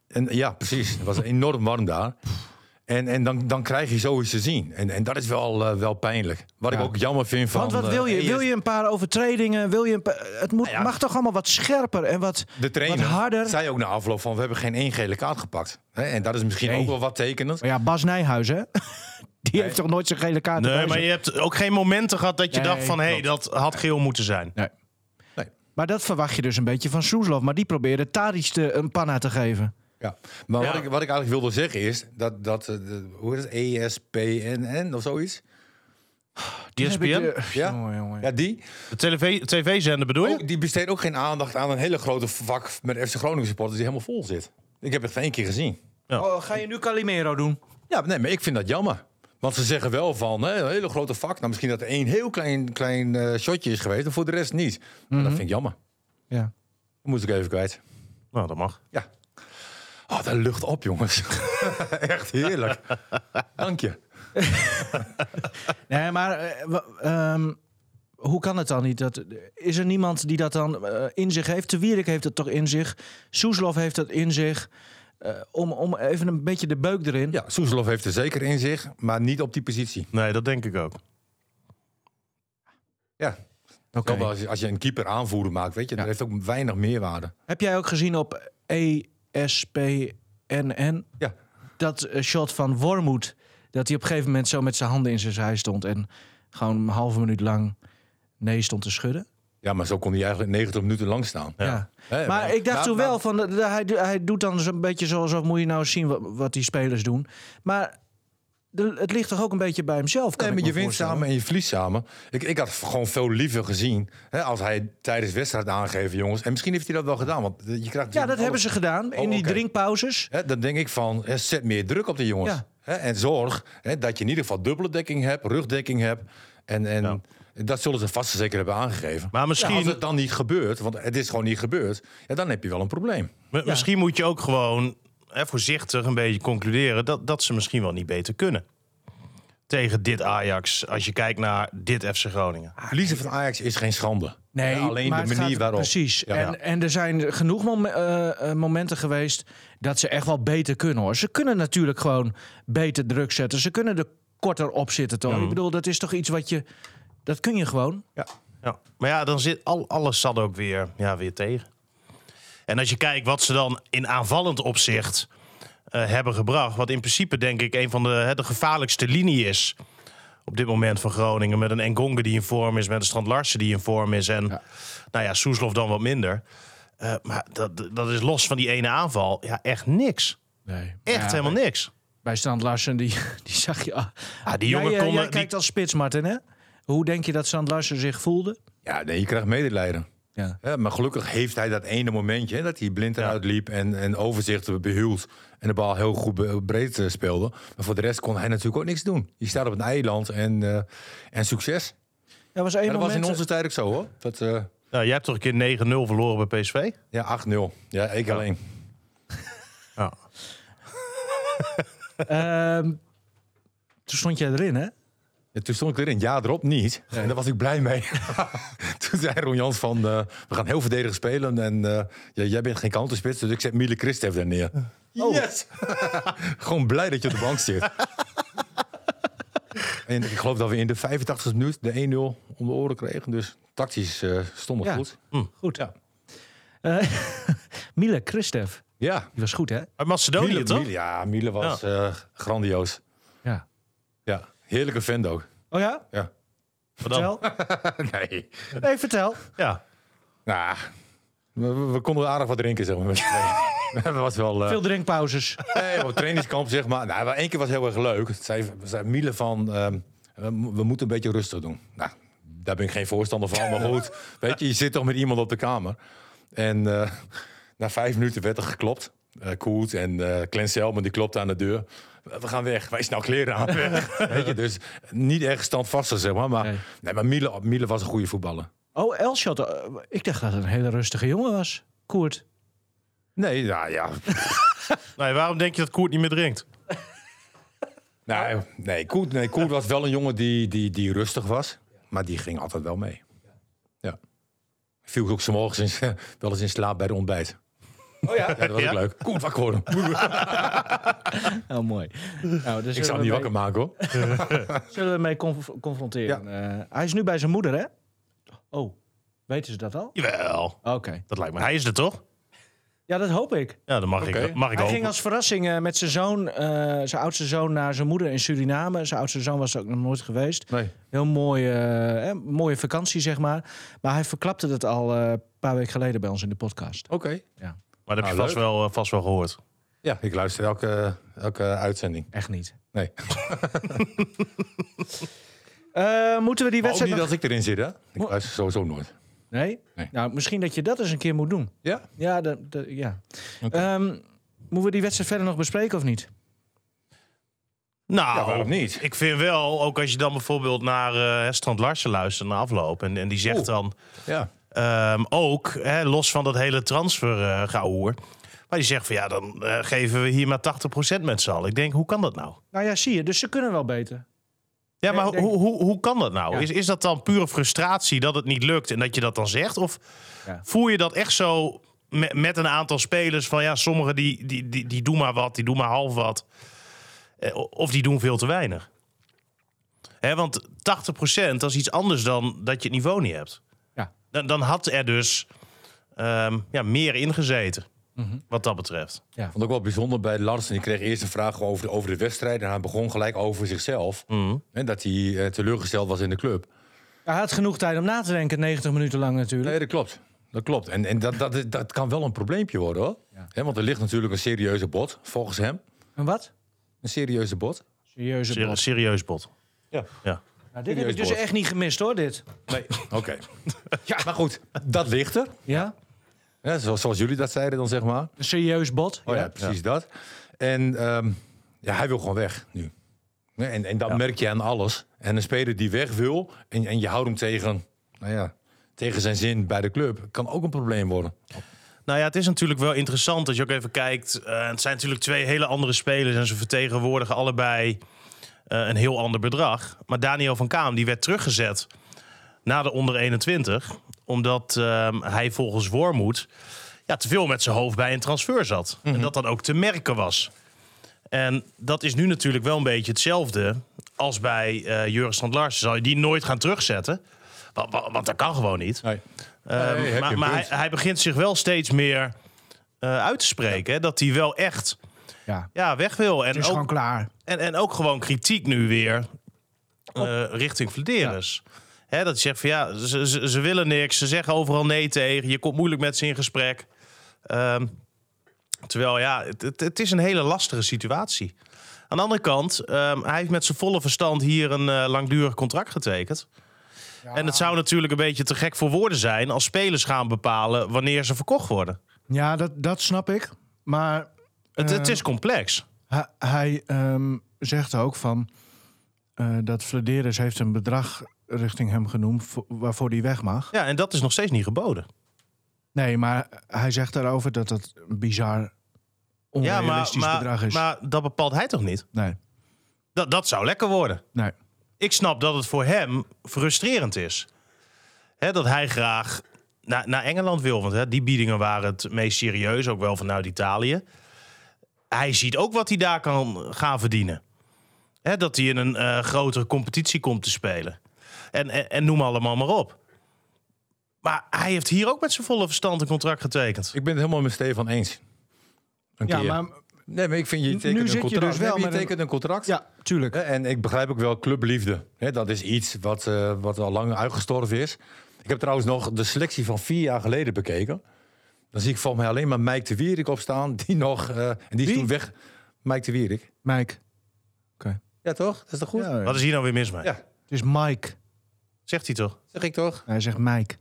[SPEAKER 4] en, ja, precies. Het was enorm warm daar. En, en dan, dan krijg je zoiets te zien. En, en dat is wel, eh, wel pijnlijk. Wat ik
[SPEAKER 2] Ja.
[SPEAKER 4] ook jammer vind van...
[SPEAKER 2] Want wat
[SPEAKER 4] eh,
[SPEAKER 2] wil je?
[SPEAKER 4] eh,
[SPEAKER 2] Wil je een paar overtredingen? Wil je een paar- het moet,
[SPEAKER 4] ja.
[SPEAKER 2] mag toch allemaal wat scherper en wat,
[SPEAKER 4] De trainer
[SPEAKER 2] wat harder?
[SPEAKER 4] zei ook na afloop van... we hebben geen één gele kaart gepakt. Hè, En dat is misschien
[SPEAKER 2] Nee.
[SPEAKER 4] ook wel wat tekenend.
[SPEAKER 2] Maar ja, Bas Nijhuis, hè? <laughs> Die heeft toch nooit zijn gele kaart
[SPEAKER 3] Nee,
[SPEAKER 2] erbij
[SPEAKER 3] maar je
[SPEAKER 2] zitten?
[SPEAKER 3] hebt ook geen momenten gehad dat je
[SPEAKER 2] Nee,
[SPEAKER 3] dacht van... hé, hey, dat
[SPEAKER 2] klopt.
[SPEAKER 3] had geel moeten zijn.
[SPEAKER 2] Maar dat verwacht je dus een beetje van Soeslof. Maar die probeerde Tadic te, een panna te geven.
[SPEAKER 4] Ja, maar
[SPEAKER 3] Ja.
[SPEAKER 4] Wat, ik, wat ik eigenlijk wilde zeggen is dat, dat eh, de- hoe is het, E ESPNN of zoiets?
[SPEAKER 3] Die
[SPEAKER 2] Heb ik eh,
[SPEAKER 3] ESPN,
[SPEAKER 2] de-
[SPEAKER 4] Ja?
[SPEAKER 2] Jongen, jongen. Oh,
[SPEAKER 4] Ja, die, Oh,
[SPEAKER 3] de tv- tv-zender bedoel je?
[SPEAKER 4] ook- die besteedt ook geen aandacht aan een hele grote vak met FC Groningen supporters die helemaal vol zit. Ik heb het geen één keer gezien.
[SPEAKER 2] Oh, ga je nu Calimero doen?
[SPEAKER 4] Ja, nee, maar ik vind dat jammer. Want ze zeggen wel van hè, een hele grote vak. Nou, misschien dat er één heel klein, klein eh, shotje is geweest, en voor de rest niet. Maar
[SPEAKER 2] Mhm.
[SPEAKER 4] dat vind ik jammer.
[SPEAKER 2] Ja.
[SPEAKER 4] Dat moest ik even kwijt.
[SPEAKER 3] Nou, dat mag.
[SPEAKER 4] Ja. Oh, dat lucht op, jongens. <laughs> Echt heerlijk. Dank je.
[SPEAKER 2] Nee, maar eh, wa- ehm, hoe kan het dan niet? Dat, is er niemand die dat dan eh, in zich heeft? Te Wierik heeft het toch in zich? Soeslof heeft dat in zich? Eh, om, om even een beetje de beuk erin.
[SPEAKER 4] Ja, Soeslof heeft er zeker in zich, maar niet op die positie.
[SPEAKER 3] Nee, dat denk ik ook.
[SPEAKER 4] Ja.
[SPEAKER 2] Oké.
[SPEAKER 4] Ook wel Als, je, als je een keeper aanvoerder maakt, weet je, dat heeft ook weinig meerwaarde.
[SPEAKER 2] Heb jij ook gezien op E ESPNN
[SPEAKER 4] Ja.
[SPEAKER 2] dat eh, shot van Wormoed? Dat hij op een gegeven moment zo met zijn handen in zijn zij stond en gewoon een halve minuut lang nee stond te schudden?
[SPEAKER 4] Ja, maar zo kon hij eigenlijk 90 minuten lang staan.
[SPEAKER 2] Ja.
[SPEAKER 4] Hè,
[SPEAKER 2] maar, ik dacht
[SPEAKER 4] maar-
[SPEAKER 2] toen
[SPEAKER 4] maar-
[SPEAKER 2] wel van, eh, hij, do- hij doet dan zo'n beetje zoals of moet je nou zien wat, wat die spelers doen. Maar de- het ligt toch ook een beetje bij hemzelf. Kan
[SPEAKER 4] Nee,
[SPEAKER 2] ik
[SPEAKER 4] maar
[SPEAKER 2] me
[SPEAKER 4] je wint
[SPEAKER 2] voorstellen.
[SPEAKER 4] samen en je verliest samen. Ik, ik had gewoon veel liever gezien hè, als hij tijdens wedstrijd aangegeven, jongens. En misschien heeft hij dat wel gedaan, want eh, je krijgt...
[SPEAKER 2] Ja, dat hebben ze gedaan in
[SPEAKER 4] Oh,
[SPEAKER 2] die
[SPEAKER 4] oké.
[SPEAKER 2] drinkpauzes.
[SPEAKER 4] Hè, dan denk ik van, hè, zet meer druk op de jongens.
[SPEAKER 2] Ja.
[SPEAKER 4] Hè, en zorg hè, dat je in ieder geval dubbele dekking hebt, rugdekking hebt. En, en dat zullen ze vast en zeker hebben aangegeven.
[SPEAKER 3] Maar misschien-
[SPEAKER 4] Ja, als het dan niet gebeurt, want het is gewoon niet gebeurd... Ja, dan heb je wel een probleem.
[SPEAKER 3] M- Misschien moet je ook gewoon hè, voorzichtig een beetje concluderen dat, dat ze misschien wel niet beter kunnen. Tegen dit Ajax, als je kijkt naar dit FC Groningen.
[SPEAKER 4] Verliezen van Ajax is geen schande.
[SPEAKER 2] Nee,
[SPEAKER 4] Hè, alleen
[SPEAKER 2] maar
[SPEAKER 4] de
[SPEAKER 2] het
[SPEAKER 4] manier
[SPEAKER 2] gaat-
[SPEAKER 4] waarop.
[SPEAKER 2] Precies.
[SPEAKER 4] Ja.
[SPEAKER 2] en, en er zijn genoeg mom- eh, eh, momenten geweest dat ze echt wel beter kunnen hoor. Ze kunnen natuurlijk gewoon beter druk zetten. Ze kunnen er korter op zitten toch? Ik bedoel, dat is toch iets wat je. Dat kun je gewoon.
[SPEAKER 3] Ja. Maar ja, dan zit al, alles zat ook weer, ja, weer tegen. En als je kijkt wat ze dan in aanvallend opzicht eh, hebben gebracht, wat in principe denk ik een van de, hè, de gevaarlijkste linie is op dit moment van Groningen. Met een Engonge die in vorm is, met een Strand Larsen die in vorm is en nou ja, Soeslof dan wat minder. Eh, maar dat, dat is los van die ene aanval, ja, echt niks.
[SPEAKER 2] Nee.
[SPEAKER 3] Echt helemaal niks.
[SPEAKER 2] Bij Strand Larsen, die, <laughs> die zag je. ah.
[SPEAKER 3] Ah, die
[SPEAKER 2] Jij,
[SPEAKER 3] jongen
[SPEAKER 2] eh,
[SPEAKER 3] kon,
[SPEAKER 2] jij
[SPEAKER 3] eh,
[SPEAKER 2] kijkt
[SPEAKER 3] die-
[SPEAKER 2] als spits, Martin, hè? Hoe denk je dat Strand Larsen zich voelde?
[SPEAKER 4] Ja, nee, je krijgt medelijden.
[SPEAKER 2] Ja.
[SPEAKER 4] Hè, maar gelukkig heeft hij dat ene momentje hè, dat hij blind eruit liep en, en overzicht behield. En de bal heel goed be- breed eh, speelde. Maar voor de rest kon hij natuurlijk ook niks doen. Je staat op een eiland en, eh, en succes.
[SPEAKER 2] Er was één
[SPEAKER 4] En dat was
[SPEAKER 2] moment.
[SPEAKER 4] in onze tijd ook zo hoor. Dat, eh,
[SPEAKER 3] Nou, jij hebt toch een keer 9-0 verloren bij PSV?
[SPEAKER 4] ja, 8-0. Ja, ik alleen.
[SPEAKER 3] Ja.
[SPEAKER 2] ehm, toen stond jij erin, hè?
[SPEAKER 4] Ja, toen stond ik weer een jaar erop niet. En daar was ik blij mee. toen zei Ron Jans van, eh, we gaan heel verdedigend spelen. En eh, ja, jij bent geen counterspits, dus ik zet Miele Christef daar neer. Yes! Gewoon blij dat je op de bank zit. en ik geloof dat we in de 85e minuut de 1-0 om de oren kregen. Dus tactisch eh, stond het
[SPEAKER 2] Ja.
[SPEAKER 4] goed.
[SPEAKER 2] Goed. Ja. <laughs> Mile Eh, Christef,
[SPEAKER 4] Ja.
[SPEAKER 2] die was goed, hè?
[SPEAKER 3] Uit Macedonië,
[SPEAKER 4] Miele,
[SPEAKER 3] toch?
[SPEAKER 4] Miele- ja, Miele was eh, grandioos.
[SPEAKER 2] Ja.
[SPEAKER 4] Ja, heerlijke vent ook.
[SPEAKER 2] Oh ja?
[SPEAKER 4] Ja.
[SPEAKER 3] Wat dan?
[SPEAKER 2] Vertel.
[SPEAKER 4] nee.
[SPEAKER 2] <laughs> Nee, vertel.
[SPEAKER 3] Ja.
[SPEAKER 4] Nou, we, we- we konden aardig wat drinken, zeg maar. met z'n tweeën. Dat was wel... eh,
[SPEAKER 2] Veel drinkpauzes.
[SPEAKER 4] Nee, op trainingskamp zeg maar. Nou, maar één keer was heel erg leuk. Het zei, zei Miele van, ehm, we, mo- we moeten een beetje rustig doen. Nou, daar ben ik geen voorstander van, maar goed. Weet je, je zit toch met iemand op de kamer. En eh, na vijf minuten werd er geklopt. Eh Koert en eh Glenn Selman, die klopte aan de deur. We gaan weg. Wij snel kleren aan. Weg. Weet je, dus niet erg standvastig, zeg maar. Maar,
[SPEAKER 2] Nee.
[SPEAKER 4] nee. maar Miele, Miele was een goede voetballer.
[SPEAKER 2] Oh, Elshot. eh, ik dacht dat het een hele rustige jongen was. Koert.
[SPEAKER 4] Nee, nou ja.
[SPEAKER 3] Nee, waarom denk je dat Koert niet meer drinkt?
[SPEAKER 4] Nou, nee, Koert, nee, Koert was wel een jongen die, die, die rustig was. Maar die ging altijd wel mee. Ja. Viel ook 's <laughs> morgens in, wel eens in slaap bij de ontbijt. Oh <laughs> ja? dat was
[SPEAKER 3] Ja?
[SPEAKER 4] ook leuk. Koert, wakker <laughs> worden.
[SPEAKER 2] Oh, mooi. Nou, dus
[SPEAKER 4] Ik zou hem niet wakker maken hoor.
[SPEAKER 2] Zullen we mee conf- confronteren? Eh, hij is nu bij zijn moeder, hè? Oh, weten ze dat al?
[SPEAKER 3] Jawel.
[SPEAKER 2] Oké.
[SPEAKER 3] Dat lijkt me. Hij is er toch?
[SPEAKER 2] Ja, dat hoop ik.
[SPEAKER 3] Ja, dat mag
[SPEAKER 4] Oké.
[SPEAKER 3] ik, mag ik
[SPEAKER 2] Hij
[SPEAKER 3] ook.
[SPEAKER 2] ging als verrassing eh, met zijn zoon, eh, zijn oudste zoon, naar zijn moeder in Suriname. Zijn oudste zoon was er ook nog nooit geweest.
[SPEAKER 4] Nee.
[SPEAKER 2] Heel mooie, eh, hè, mooie vakantie, zeg maar. Maar hij verklapte dat al eh, een paar weken geleden bij ons in de podcast.
[SPEAKER 4] Oké.
[SPEAKER 2] Ja,
[SPEAKER 3] Maar dat heb je
[SPEAKER 4] Ah,
[SPEAKER 3] vast wel, eh, vast wel gehoord.
[SPEAKER 4] Ja, ik luister elke, elke uitzending.
[SPEAKER 2] echt niet.
[SPEAKER 4] Nee.
[SPEAKER 2] Eh, moeten we die
[SPEAKER 4] Maar ook
[SPEAKER 2] wedstrijd
[SPEAKER 4] niet
[SPEAKER 2] nog-
[SPEAKER 4] als ik erin zit hè. Ik luister sowieso nooit.
[SPEAKER 2] Nee?
[SPEAKER 4] Nee.
[SPEAKER 2] Nou, misschien dat je dat eens een keer moet doen.
[SPEAKER 4] Ja?
[SPEAKER 2] Ja, dat, dat- ja.
[SPEAKER 4] Oké.
[SPEAKER 2] Ehm, Moeten we die wedstrijd verder nog bespreken of niet?
[SPEAKER 3] Nou,
[SPEAKER 4] Ja, waarom niet?
[SPEAKER 3] Ik vind wel, ook als je dan bijvoorbeeld naar eh Strand Larsen luistert na afloop. En, en die zegt
[SPEAKER 4] Oeh.
[SPEAKER 3] dan
[SPEAKER 4] Ja.
[SPEAKER 3] ehm, ook, hè, los van dat hele transfergauwhoer. maar die zegt van ja, dan eh, geven we hier maar 80% met z'n allen. Ik denk, hoe kan dat nou?
[SPEAKER 2] Nou ja, zie je. Dus ze kunnen wel beter.
[SPEAKER 3] Ja, maar
[SPEAKER 2] denk-
[SPEAKER 3] hoe, hoe, hoe kan dat nou?
[SPEAKER 2] Ja.
[SPEAKER 3] Is, is dat dan pure frustratie dat het niet lukt en dat je dat dan zegt? Of
[SPEAKER 2] Ja.
[SPEAKER 3] voel je dat echt zo met, met een aantal spelers van ja, sommigen die, die, die, die doen maar wat, die doen maar half wat. Eh, o- Of die doen veel te weinig. Hè, want 80% dat is iets anders dan dat je het niveau niet hebt.
[SPEAKER 2] Ja.
[SPEAKER 3] Dan, dan had er dus ehm, ja, meer ingezeten, wat dat betreft.
[SPEAKER 4] vond ook wel bijzonder bij Larsen. Die kreeg eerst een vraag over de, over de wedstrijd. En hij begon gelijk over zichzelf. En dat hij eh, teleurgesteld was in de club.
[SPEAKER 2] Hij had genoeg tijd om na te denken, 90 minuten lang natuurlijk.
[SPEAKER 4] Nee, dat klopt. Dat klopt. En, en dat, dat, is- dat kan wel een probleempje worden hoor. Hè, want er ligt natuurlijk een serieuze bot, volgens hem.
[SPEAKER 2] En wat?
[SPEAKER 4] Een serieuze bot.
[SPEAKER 2] Serieuze
[SPEAKER 3] Ser-
[SPEAKER 2] bot.
[SPEAKER 3] serieus bot.
[SPEAKER 4] Ja.
[SPEAKER 3] Ja.
[SPEAKER 2] Nou, dit heb ik dus
[SPEAKER 4] serieus bot.
[SPEAKER 2] echt niet gemist hoor, dit.
[SPEAKER 4] Nee, oké. ja. Maar goed, dat ligt er.
[SPEAKER 2] Ja?
[SPEAKER 4] Ja, zoals, zoals jullie dat zeiden dan, zeg maar.
[SPEAKER 2] Een serieus bot.
[SPEAKER 4] Oh ja, precies dat. En ehm, ja, hij wil gewoon weg nu. Ja, En, en dat merk je aan alles. En een speler die weg wil en, en je houdt hem tegen, nou ja, tegen zijn zin bij de club, kan ook een probleem worden.
[SPEAKER 3] Nou ja, het is natuurlijk wel interessant als je ook even kijkt. eh, het zijn natuurlijk twee hele andere spelers en ze vertegenwoordigen allebei eh, een heel ander bedrag. Maar Daniel van Kaam die werd teruggezet na de onder 21, omdat ehm, hij volgens Wormoed ja, te veel met zijn hoofd bij een transfer zat. En dat dan ook te merken was. En dat is nu natuurlijk wel een beetje hetzelfde als bij eh Jurgen Strand Larsen. Zal je die nooit gaan terugzetten? Wa- wa- Want, dat kan gewoon niet.
[SPEAKER 4] Nee.
[SPEAKER 3] Ehm,
[SPEAKER 4] heb je
[SPEAKER 3] maar
[SPEAKER 4] een
[SPEAKER 3] maar hij,
[SPEAKER 4] punt.
[SPEAKER 3] hij begint zich wel steeds meer eh, uit te spreken. Hè? Dat hij wel echt
[SPEAKER 2] Ja.
[SPEAKER 3] ja, weg wil. En
[SPEAKER 2] Het is
[SPEAKER 3] ook,
[SPEAKER 2] gewoon klaar.
[SPEAKER 3] en, en ook gewoon kritiek nu weer eh, richting Vladeris. Hè, dat je zegt van ja, ze, ze, ze willen niks. Ze zeggen overal nee tegen. Je komt moeilijk met ze in gesprek. Ehm, terwijl ja, het, het, het is een hele lastige situatie. Aan de andere kant, ehm, hij heeft met zijn volle verstand hier een eh, langdurig contract getekend. En het zou natuurlijk een beetje te gek voor woorden zijn als spelers gaan bepalen wanneer ze verkocht worden.
[SPEAKER 2] Ja, dat, dat snap ik. Maar
[SPEAKER 3] Het, het
[SPEAKER 2] Eh,
[SPEAKER 3] is complex.
[SPEAKER 2] Hij, hij, ehm, zegt ook van eh, dat Vladeris heeft een bedrag richting hem genoemd vo- waarvoor hij weg mag.
[SPEAKER 3] Ja, en dat is nog steeds niet geboden.
[SPEAKER 2] Nee, maar hij zegt daarover dat dat een bizar
[SPEAKER 3] Ja, maar,
[SPEAKER 2] onrealistisch bedrag
[SPEAKER 3] maar,
[SPEAKER 2] is.
[SPEAKER 3] maar dat bepaalt hij toch niet?
[SPEAKER 2] nee,
[SPEAKER 3] Dat, dat zou lekker worden.
[SPEAKER 2] nee.
[SPEAKER 3] Ik snap dat het voor hem frustrerend is. Hè, dat hij graag naar, naar Engeland wil. Want hè, die biedingen waren het meest serieus, ook wel vanuit Italië. Hij ziet ook wat hij daar kan gaan verdienen. Hè, dat hij in een eh, grotere competitie komt te spelen. En, en, en noem allemaal maar op. Maar hij heeft hier ook met zijn volle verstand een contract getekend.
[SPEAKER 4] Ik ben het helemaal met Stefan eens. Een
[SPEAKER 2] Ja,
[SPEAKER 4] keer.
[SPEAKER 2] maar
[SPEAKER 4] Nee, maar ik vind je tekent
[SPEAKER 2] nu
[SPEAKER 4] een
[SPEAKER 2] zit je
[SPEAKER 4] contract.
[SPEAKER 2] dus wel
[SPEAKER 4] Nee, maar
[SPEAKER 2] met
[SPEAKER 4] je
[SPEAKER 2] een-
[SPEAKER 4] tekent een contract.
[SPEAKER 2] ja, tuurlijk.
[SPEAKER 4] Hè, En ik begrijp ook wel clubliefde. Hè, Dat is iets wat, eh, wat al lang uitgestorven is. Ik heb trouwens nog de selectie van vier jaar geleden bekeken. Dan zie ik volgens mij alleen maar Mike de Wierik op staan. Die nog... eh, en die is
[SPEAKER 2] Wie?
[SPEAKER 4] toen weg. Mike de Wierik.
[SPEAKER 2] Mike.
[SPEAKER 4] Ja, toch? Dat is toch goed?
[SPEAKER 2] Ja,
[SPEAKER 3] Wat is hier nou weer mis mee?
[SPEAKER 4] Ja.
[SPEAKER 2] Het is Mike.
[SPEAKER 3] Zegt hij toch?
[SPEAKER 4] Zeg ik toch?
[SPEAKER 2] Hij zegt Mike.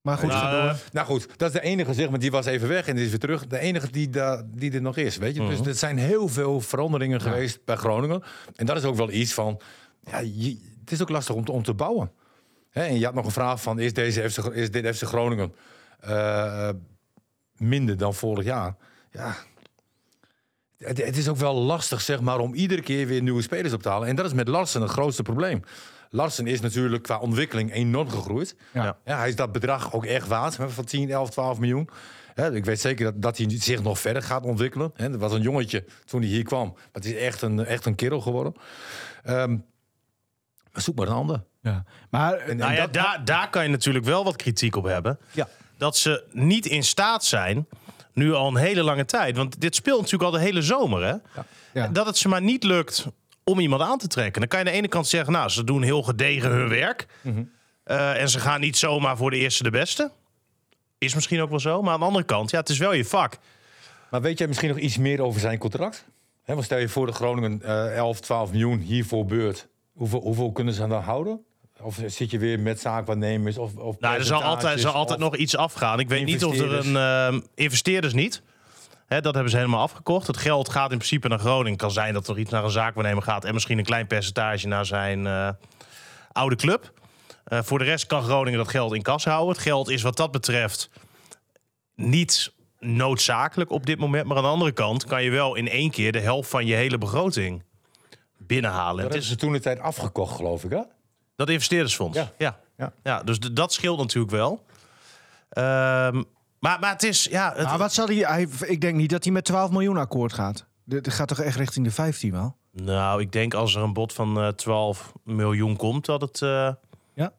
[SPEAKER 2] Maar goed,
[SPEAKER 3] Nou,
[SPEAKER 2] ga door.
[SPEAKER 3] eh,
[SPEAKER 4] Nou goed, dat is de enige, zeg maar. Die was even weg en die is weer terug. De enige die, da- die er nog is, weet je. Dus er zijn heel veel veranderingen geweest bij Groningen. En dat is ook wel iets van... Ja, je- het is ook lastig om te, om te bouwen. Hè, en je had nog een vraag van... Is, deze FC, Gro- is dit FC Groningen eh, minder dan vorig jaar? Ja... Het, het is ook wel lastig, zeg maar, om iedere keer weer nieuwe spelers op te halen. En dat is met Larsen het grootste probleem. Larsen is natuurlijk qua ontwikkeling enorm gegroeid.
[SPEAKER 2] Ja.
[SPEAKER 4] Ja, hij is dat bedrag ook echt waard hè, van 10, 11, 12 miljoen. Hè, ik weet zeker dat, dat hij zich nog verder gaat ontwikkelen. Hè, er was een jongetje toen hij hier kwam. Maar het is echt een, echt een kerel geworden. Ehm, maar zoek maar een ander.
[SPEAKER 2] Ja. Maar eh,
[SPEAKER 4] En,
[SPEAKER 3] Nou
[SPEAKER 4] en
[SPEAKER 3] ja,
[SPEAKER 4] dat-
[SPEAKER 3] daar, daar kan je natuurlijk wel wat kritiek op hebben.
[SPEAKER 4] Ja.
[SPEAKER 3] Dat ze niet in staat zijn, nu al een hele lange tijd. Want dit speelt natuurlijk al de hele zomer. Hè?
[SPEAKER 2] ja.
[SPEAKER 3] Dat het ze maar niet lukt om iemand aan te trekken. Dan kan je aan de ene kant zeggen, nou, ze doen heel gedegen hun werk.
[SPEAKER 4] Mhm.
[SPEAKER 3] Eh, en ze gaan niet zomaar voor de eerste de beste. Is misschien ook wel zo. Maar aan de andere kant, ja, het is wel je vak.
[SPEAKER 4] Maar weet jij misschien nog iets meer over zijn contract? Hè, want stel je voor de Groningen eh 11, 12 miljoen hiervoor beurt. Hoeveel, hoeveel kunnen ze dan houden? Of zit je weer met zaakwaarnemers? Of, of
[SPEAKER 3] Nou, er zal altijd,
[SPEAKER 4] percentages
[SPEAKER 3] zal altijd
[SPEAKER 4] of-
[SPEAKER 3] nog iets afgaan. Ik weet niet of er een... ehm investeerders niet. Hè, dat hebben ze helemaal afgekocht. Het geld gaat in principe naar Groningen. Kan zijn dat er iets naar een zaakwaarnemer gaat. En misschien een klein percentage naar zijn eh, oude club. Eh, voor de rest kan Groningen dat geld in kas houden. Het geld is wat dat betreft niet noodzakelijk op dit moment. Maar aan de andere kant kan je wel in één keer de helft van je hele begroting binnenhalen.
[SPEAKER 4] Dat
[SPEAKER 3] Het
[SPEAKER 4] is
[SPEAKER 3] is
[SPEAKER 4] ze toen de tijd afgekocht, geloof ik. Hè?
[SPEAKER 3] dat investeerdersfonds.
[SPEAKER 4] Ja.
[SPEAKER 3] Ja. Ja.
[SPEAKER 4] Ja.
[SPEAKER 3] dus d- dat scheelt natuurlijk wel. Ehm, maar, maar het is. Ja, het-
[SPEAKER 2] Maar wat zal hij, hij- ik denk niet dat hij met 12 miljoen akkoord gaat. Dat gaat toch echt richting de 15 wel?
[SPEAKER 3] Nou, ik denk als er een bod van eh, 12 miljoen komt, dat het. eh,
[SPEAKER 2] Ja.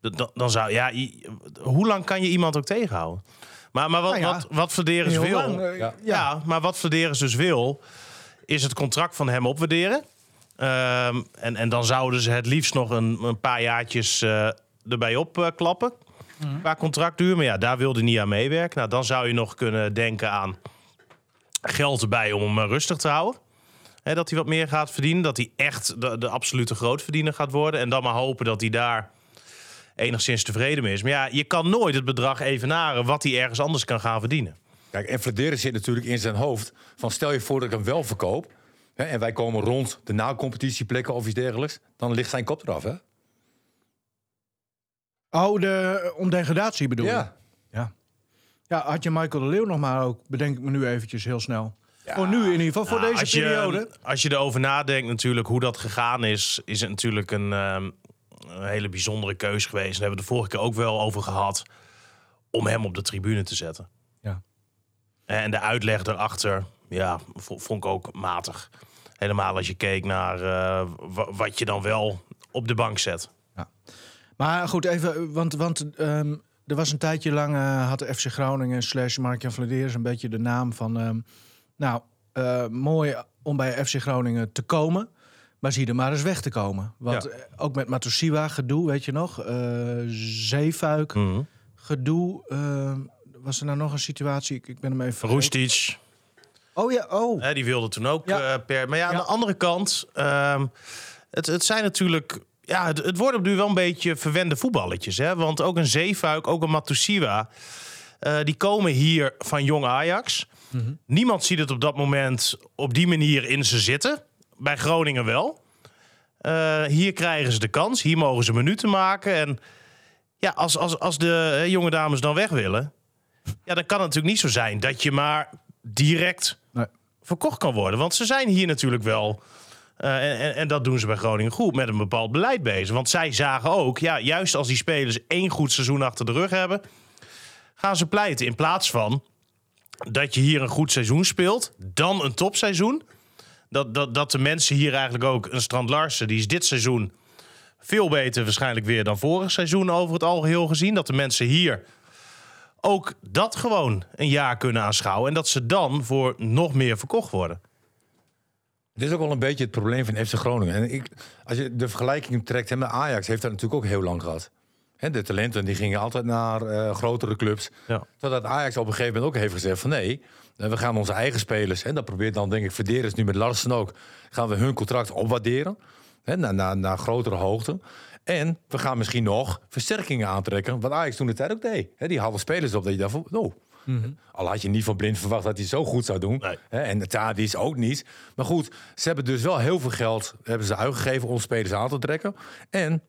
[SPEAKER 3] d- dan, dan zou. Ja, i- hoe lang kan je iemand ook tegenhouden? Maar, maar wat,
[SPEAKER 2] Nou ja,
[SPEAKER 3] wat, wat Flederis
[SPEAKER 2] Heel
[SPEAKER 3] wil.
[SPEAKER 2] lang, eh,
[SPEAKER 4] Ja.
[SPEAKER 3] Ja. maar wat Flederis dus wil, is het contract van hem opwaarderen. Ehm, en, en dan zouden ze het liefst nog een, een paar jaartjes eh, erbij opklappen. qua contractduur. Maar ja, daar wilde hij niet aan meewerken. Nou, dan zou je nog kunnen denken aan geld erbij om hem eh, rustig te houden. Hè, dat hij wat meer gaat verdienen. Dat hij echt de, de absolute grootverdiener gaat worden. En dan maar hopen dat hij daar enigszins tevreden mee is. Maar ja, je kan nooit het bedrag evenaren wat hij ergens anders kan gaan verdienen.
[SPEAKER 4] Kijk, en Fladeren zit natuurlijk in zijn hoofd van stel je voor dat ik hem wel verkoop. Hè, en wij komen rond de na-competitieplekken of iets dergelijks. Dan ligt zijn kop eraf, hè?
[SPEAKER 2] Oh, de, om degradatie bedoel je?
[SPEAKER 4] Ja.
[SPEAKER 2] ja. Ja, had je Michael de Leeuw nog maar ook, bedenk ik me nu eventjes heel snel. Voor nu in ieder geval, voor
[SPEAKER 3] Nou,
[SPEAKER 2] deze
[SPEAKER 3] als je,
[SPEAKER 2] periode.
[SPEAKER 3] Als je erover nadenkt natuurlijk hoe dat gegaan is, is het natuurlijk een, ehm, een hele bijzondere keus geweest. Daar hebben we de vorige keer ook wel over gehad om hem op de tribune te zetten. Eh,
[SPEAKER 2] Ja.
[SPEAKER 3] En de uitleg daarachter, ja, vo- vond ik ook matig. Helemaal als je keek naar eh, wa- wat je dan wel op de bank zet.
[SPEAKER 2] Maar goed, even, eh, want, want ehm, er was een tijdje lang, eh, had de FC Groningen slash Mark-Jan Vladeers een beetje de naam van... ehm, nou, eh, mooi om bij FC Groningen te komen, maar zie er maar eens weg te komen. Want
[SPEAKER 3] Ja.
[SPEAKER 2] eh, ook met Matosiwa gedoe, weet je nog, eh Zeefuik
[SPEAKER 3] Hm.
[SPEAKER 2] gedoe... ehm, was er nou nog een situatie? Ik, ik ben hem even. vergeten.
[SPEAKER 3] Roestic,
[SPEAKER 2] Oh ja, oh.
[SPEAKER 3] hè, die wilde toen ook
[SPEAKER 2] Ja.
[SPEAKER 3] eh, per... Maar ja, aan
[SPEAKER 2] Ja.
[SPEAKER 3] de andere kant, ehm, het, het zijn natuurlijk... Ja, het, het worden op nu wel een beetje verwende voetballetjes. Hè? Want ook een Zeefuik, ook een Matusiwa... eh, die komen hier van jong Ajax.
[SPEAKER 2] Mhm.
[SPEAKER 3] Niemand ziet het op dat moment op die manier in ze zitten. Bij Groningen wel. Eh, hier krijgen ze de kans. Hier mogen ze minuten maken. En ja, als, als, als de eh, jonge dames dan weg willen... Ja, dan kan het natuurlijk niet zo zijn dat je maar direct
[SPEAKER 2] Nee.
[SPEAKER 3] verkocht kan worden. Want ze zijn hier natuurlijk wel. eh, en, en, en dat doen ze bij Groningen goed, met een bepaald beleid bezig. Want zij zagen ook, ja, juist als die spelers één goed seizoen achter de rug hebben, gaan ze pleiten. In plaats van dat je hier een goed seizoen speelt, dan een topseizoen. Dat, dat, dat de mensen hier eigenlijk ook, een Strand Larsen, die is dit seizoen veel beter waarschijnlijk weer dan vorig seizoen over het algeheel gezien. Dat de mensen hier ook dat gewoon een jaar kunnen aanschouwen. En dat ze dan voor nog meer verkocht worden.
[SPEAKER 4] Dit is ook wel een beetje het probleem van FC Groningen. En ik, als je de vergelijking trekt hè, met Ajax, heeft dat natuurlijk ook heel lang gehad. Hè, de talenten die gingen altijd naar eh, grotere clubs.
[SPEAKER 3] Ja.
[SPEAKER 4] Totdat Ajax op een gegeven moment ook heeft gezegd van nee, eh, we gaan onze eigen spelers, en dat probeert dan denk ik Verderens nu met Larsen ook, gaan we hun contract opwaarderen hè, naar, naar, naar grotere hoogte. En we gaan misschien nog versterkingen aantrekken, wat Ajax toen de tijd ook deed. Hè, die hadden spelers op dat je dacht van, oh. Al had je niet van Blind verwacht dat hij het zo goed zou doen.
[SPEAKER 3] Nee.
[SPEAKER 4] Hè, en Tadic ook niet. Maar goed, ze hebben dus wel heel veel geld hebben ze uitgegeven om spelers aan te trekken. En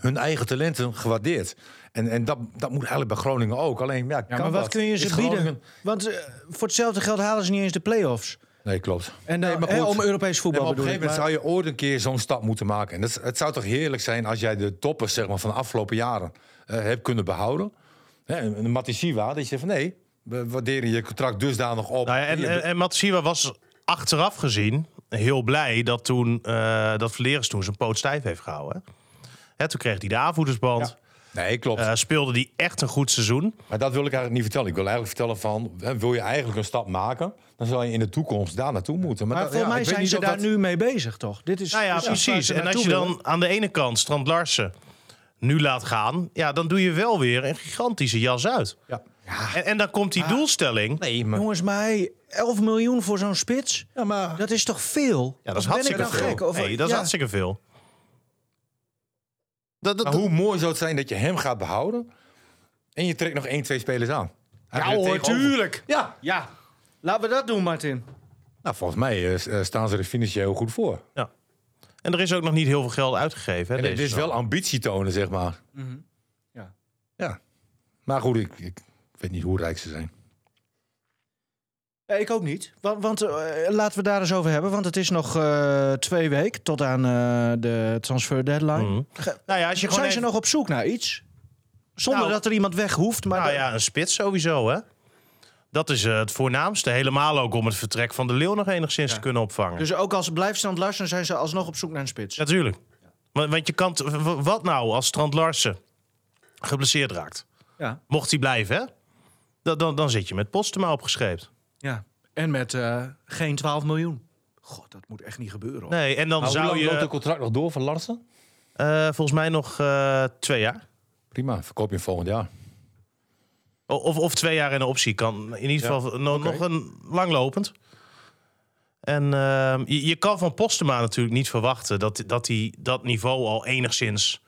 [SPEAKER 4] hun eigen talenten gewaardeerd. En, en dat, dat moet eigenlijk bij Groningen ook. Alleen, ja,
[SPEAKER 2] Ja,
[SPEAKER 4] kan
[SPEAKER 2] maar wat
[SPEAKER 4] dat?
[SPEAKER 2] kun je
[SPEAKER 4] Is
[SPEAKER 2] ze
[SPEAKER 4] Groningen-
[SPEAKER 2] bieden? Want eh, voor hetzelfde geld halen ze niet eens de play-offs.
[SPEAKER 4] Nee, klopt.
[SPEAKER 2] En dan,
[SPEAKER 4] Nee, maar
[SPEAKER 2] hè,
[SPEAKER 4] goed.
[SPEAKER 2] om Europees
[SPEAKER 4] Nee,
[SPEAKER 2] voetbal
[SPEAKER 4] maar op een
[SPEAKER 2] bedoel
[SPEAKER 4] gegeven moment
[SPEAKER 2] ik,
[SPEAKER 4] zou je ooit een keer zo'n stap moeten maken. En dat, is- het zou toch heerlijk zijn als jij de toppers zeg maar, van de afgelopen jaren eh, hebt kunnen behouden. Hè, een een Matisiwa, dat je zegt van nee, we waarderen je contract dusdanig op.
[SPEAKER 3] Nou ja, en,
[SPEAKER 2] eh,
[SPEAKER 3] en, en Matsiwa was achteraf gezien heel blij dat toen eh dat Vleres toen zijn poot stijf heeft gehouden. hè. Hè, toen kreeg hij de aanvoerdersband.
[SPEAKER 4] nee, klopt.
[SPEAKER 3] Eh, speelde hij echt een goed seizoen.
[SPEAKER 4] Maar dat wil ik eigenlijk niet vertellen. Ik wil eigenlijk vertellen van, hè, wil je eigenlijk een stap maken, dan zal je in de toekomst daar naartoe moeten.
[SPEAKER 2] Maar
[SPEAKER 4] dat-
[SPEAKER 2] voor
[SPEAKER 4] ja,
[SPEAKER 2] mij
[SPEAKER 4] ik weet
[SPEAKER 2] zijn
[SPEAKER 4] niet
[SPEAKER 2] ze
[SPEAKER 4] of
[SPEAKER 2] daar
[SPEAKER 4] dat-
[SPEAKER 2] nu mee bezig, toch? Dit is
[SPEAKER 3] Nou ja,
[SPEAKER 2] precies waar
[SPEAKER 3] precies.
[SPEAKER 2] ze
[SPEAKER 3] En als
[SPEAKER 2] naartoe
[SPEAKER 3] je
[SPEAKER 2] willen.
[SPEAKER 3] dan aan de ene kant Strand Larsen nu laat gaan, ja, dan doe je wel weer een gigantische jas uit.
[SPEAKER 4] Ja.
[SPEAKER 3] En, en dan komt die doelstelling.
[SPEAKER 4] Nee, maar...
[SPEAKER 2] Jongens, maar hey, 11 miljoen voor zo'n spits,
[SPEAKER 4] Ja, maar...
[SPEAKER 2] dat is toch veel?
[SPEAKER 3] Ja, dat is
[SPEAKER 2] Of ben ik
[SPEAKER 3] hartstikke
[SPEAKER 2] nou
[SPEAKER 3] veel.
[SPEAKER 2] gek? Of-
[SPEAKER 3] Nee, dat is
[SPEAKER 2] ja.
[SPEAKER 3] hartstikke veel. Dat, dat,
[SPEAKER 4] Maar hoe mooi zou het zijn dat je hem gaat behouden en je trekt nog één, twee spelers aan. Hij heeft er tegenover. Ja,
[SPEAKER 2] Ja, Laten we dat doen, Martin.
[SPEAKER 4] Nou, volgens mij eh, s- eh, staan ze er financieel goed voor.
[SPEAKER 3] Ja. En er is ook nog niet heel veel geld uitgegeven. Hè,
[SPEAKER 4] En
[SPEAKER 3] deze
[SPEAKER 4] het is
[SPEAKER 3] zomer.
[SPEAKER 4] wel ambitie tonen, zeg maar.
[SPEAKER 2] Ja.
[SPEAKER 4] Ja. Maar goed, ik, ik weet niet hoe rijk ze zijn.
[SPEAKER 2] Eh, Ik ook niet. Want, want eh, laten we daar eens over hebben. Want het is nog eh, twee weken tot aan eh, de transfer deadline.
[SPEAKER 3] Mhm.
[SPEAKER 2] Ge-
[SPEAKER 3] Nou ja, als je
[SPEAKER 2] Zijn ze
[SPEAKER 3] gewoon even-
[SPEAKER 2] nog op zoek naar iets? Zonder
[SPEAKER 3] Nou,
[SPEAKER 2] dat er iemand weg hoeft. Maar
[SPEAKER 3] Nou
[SPEAKER 2] de-
[SPEAKER 3] ja, een spits sowieso, hè? Dat is eh, het voornaamste. Helemaal ook om het vertrek van de Leeuw nog enigszins te kunnen opvangen.
[SPEAKER 2] Dus ook als blijfstand Larsen zijn ze alsnog op zoek naar een spits.
[SPEAKER 3] Natuurlijk. Want, want je kan... t- w- w- Wat nou als Strand Larsen geblesseerd raakt?
[SPEAKER 2] Ja.
[SPEAKER 3] Mocht hij blijven, hè? Dan, dan, dan zit je met Postema opgeschreven.
[SPEAKER 2] ja. En met eh, geen 12 miljoen. God, dat moet echt niet gebeuren. Hoor.
[SPEAKER 3] Nee, en dan
[SPEAKER 4] Maar hoe
[SPEAKER 3] zou
[SPEAKER 4] lang
[SPEAKER 3] je...
[SPEAKER 4] loopt het contract nog door van Larsen?
[SPEAKER 3] eh, volgens mij nog eh, twee jaar.
[SPEAKER 4] Prima, verkoop je hem volgend jaar.
[SPEAKER 3] O- Of, of twee jaar in een optie kan. In ieder
[SPEAKER 4] Ja,
[SPEAKER 3] geval no-
[SPEAKER 4] oké.
[SPEAKER 3] nog een langlopend. En ehm, je, je kan van Postema natuurlijk niet verwachten dat, dat hij dat niveau al enigszins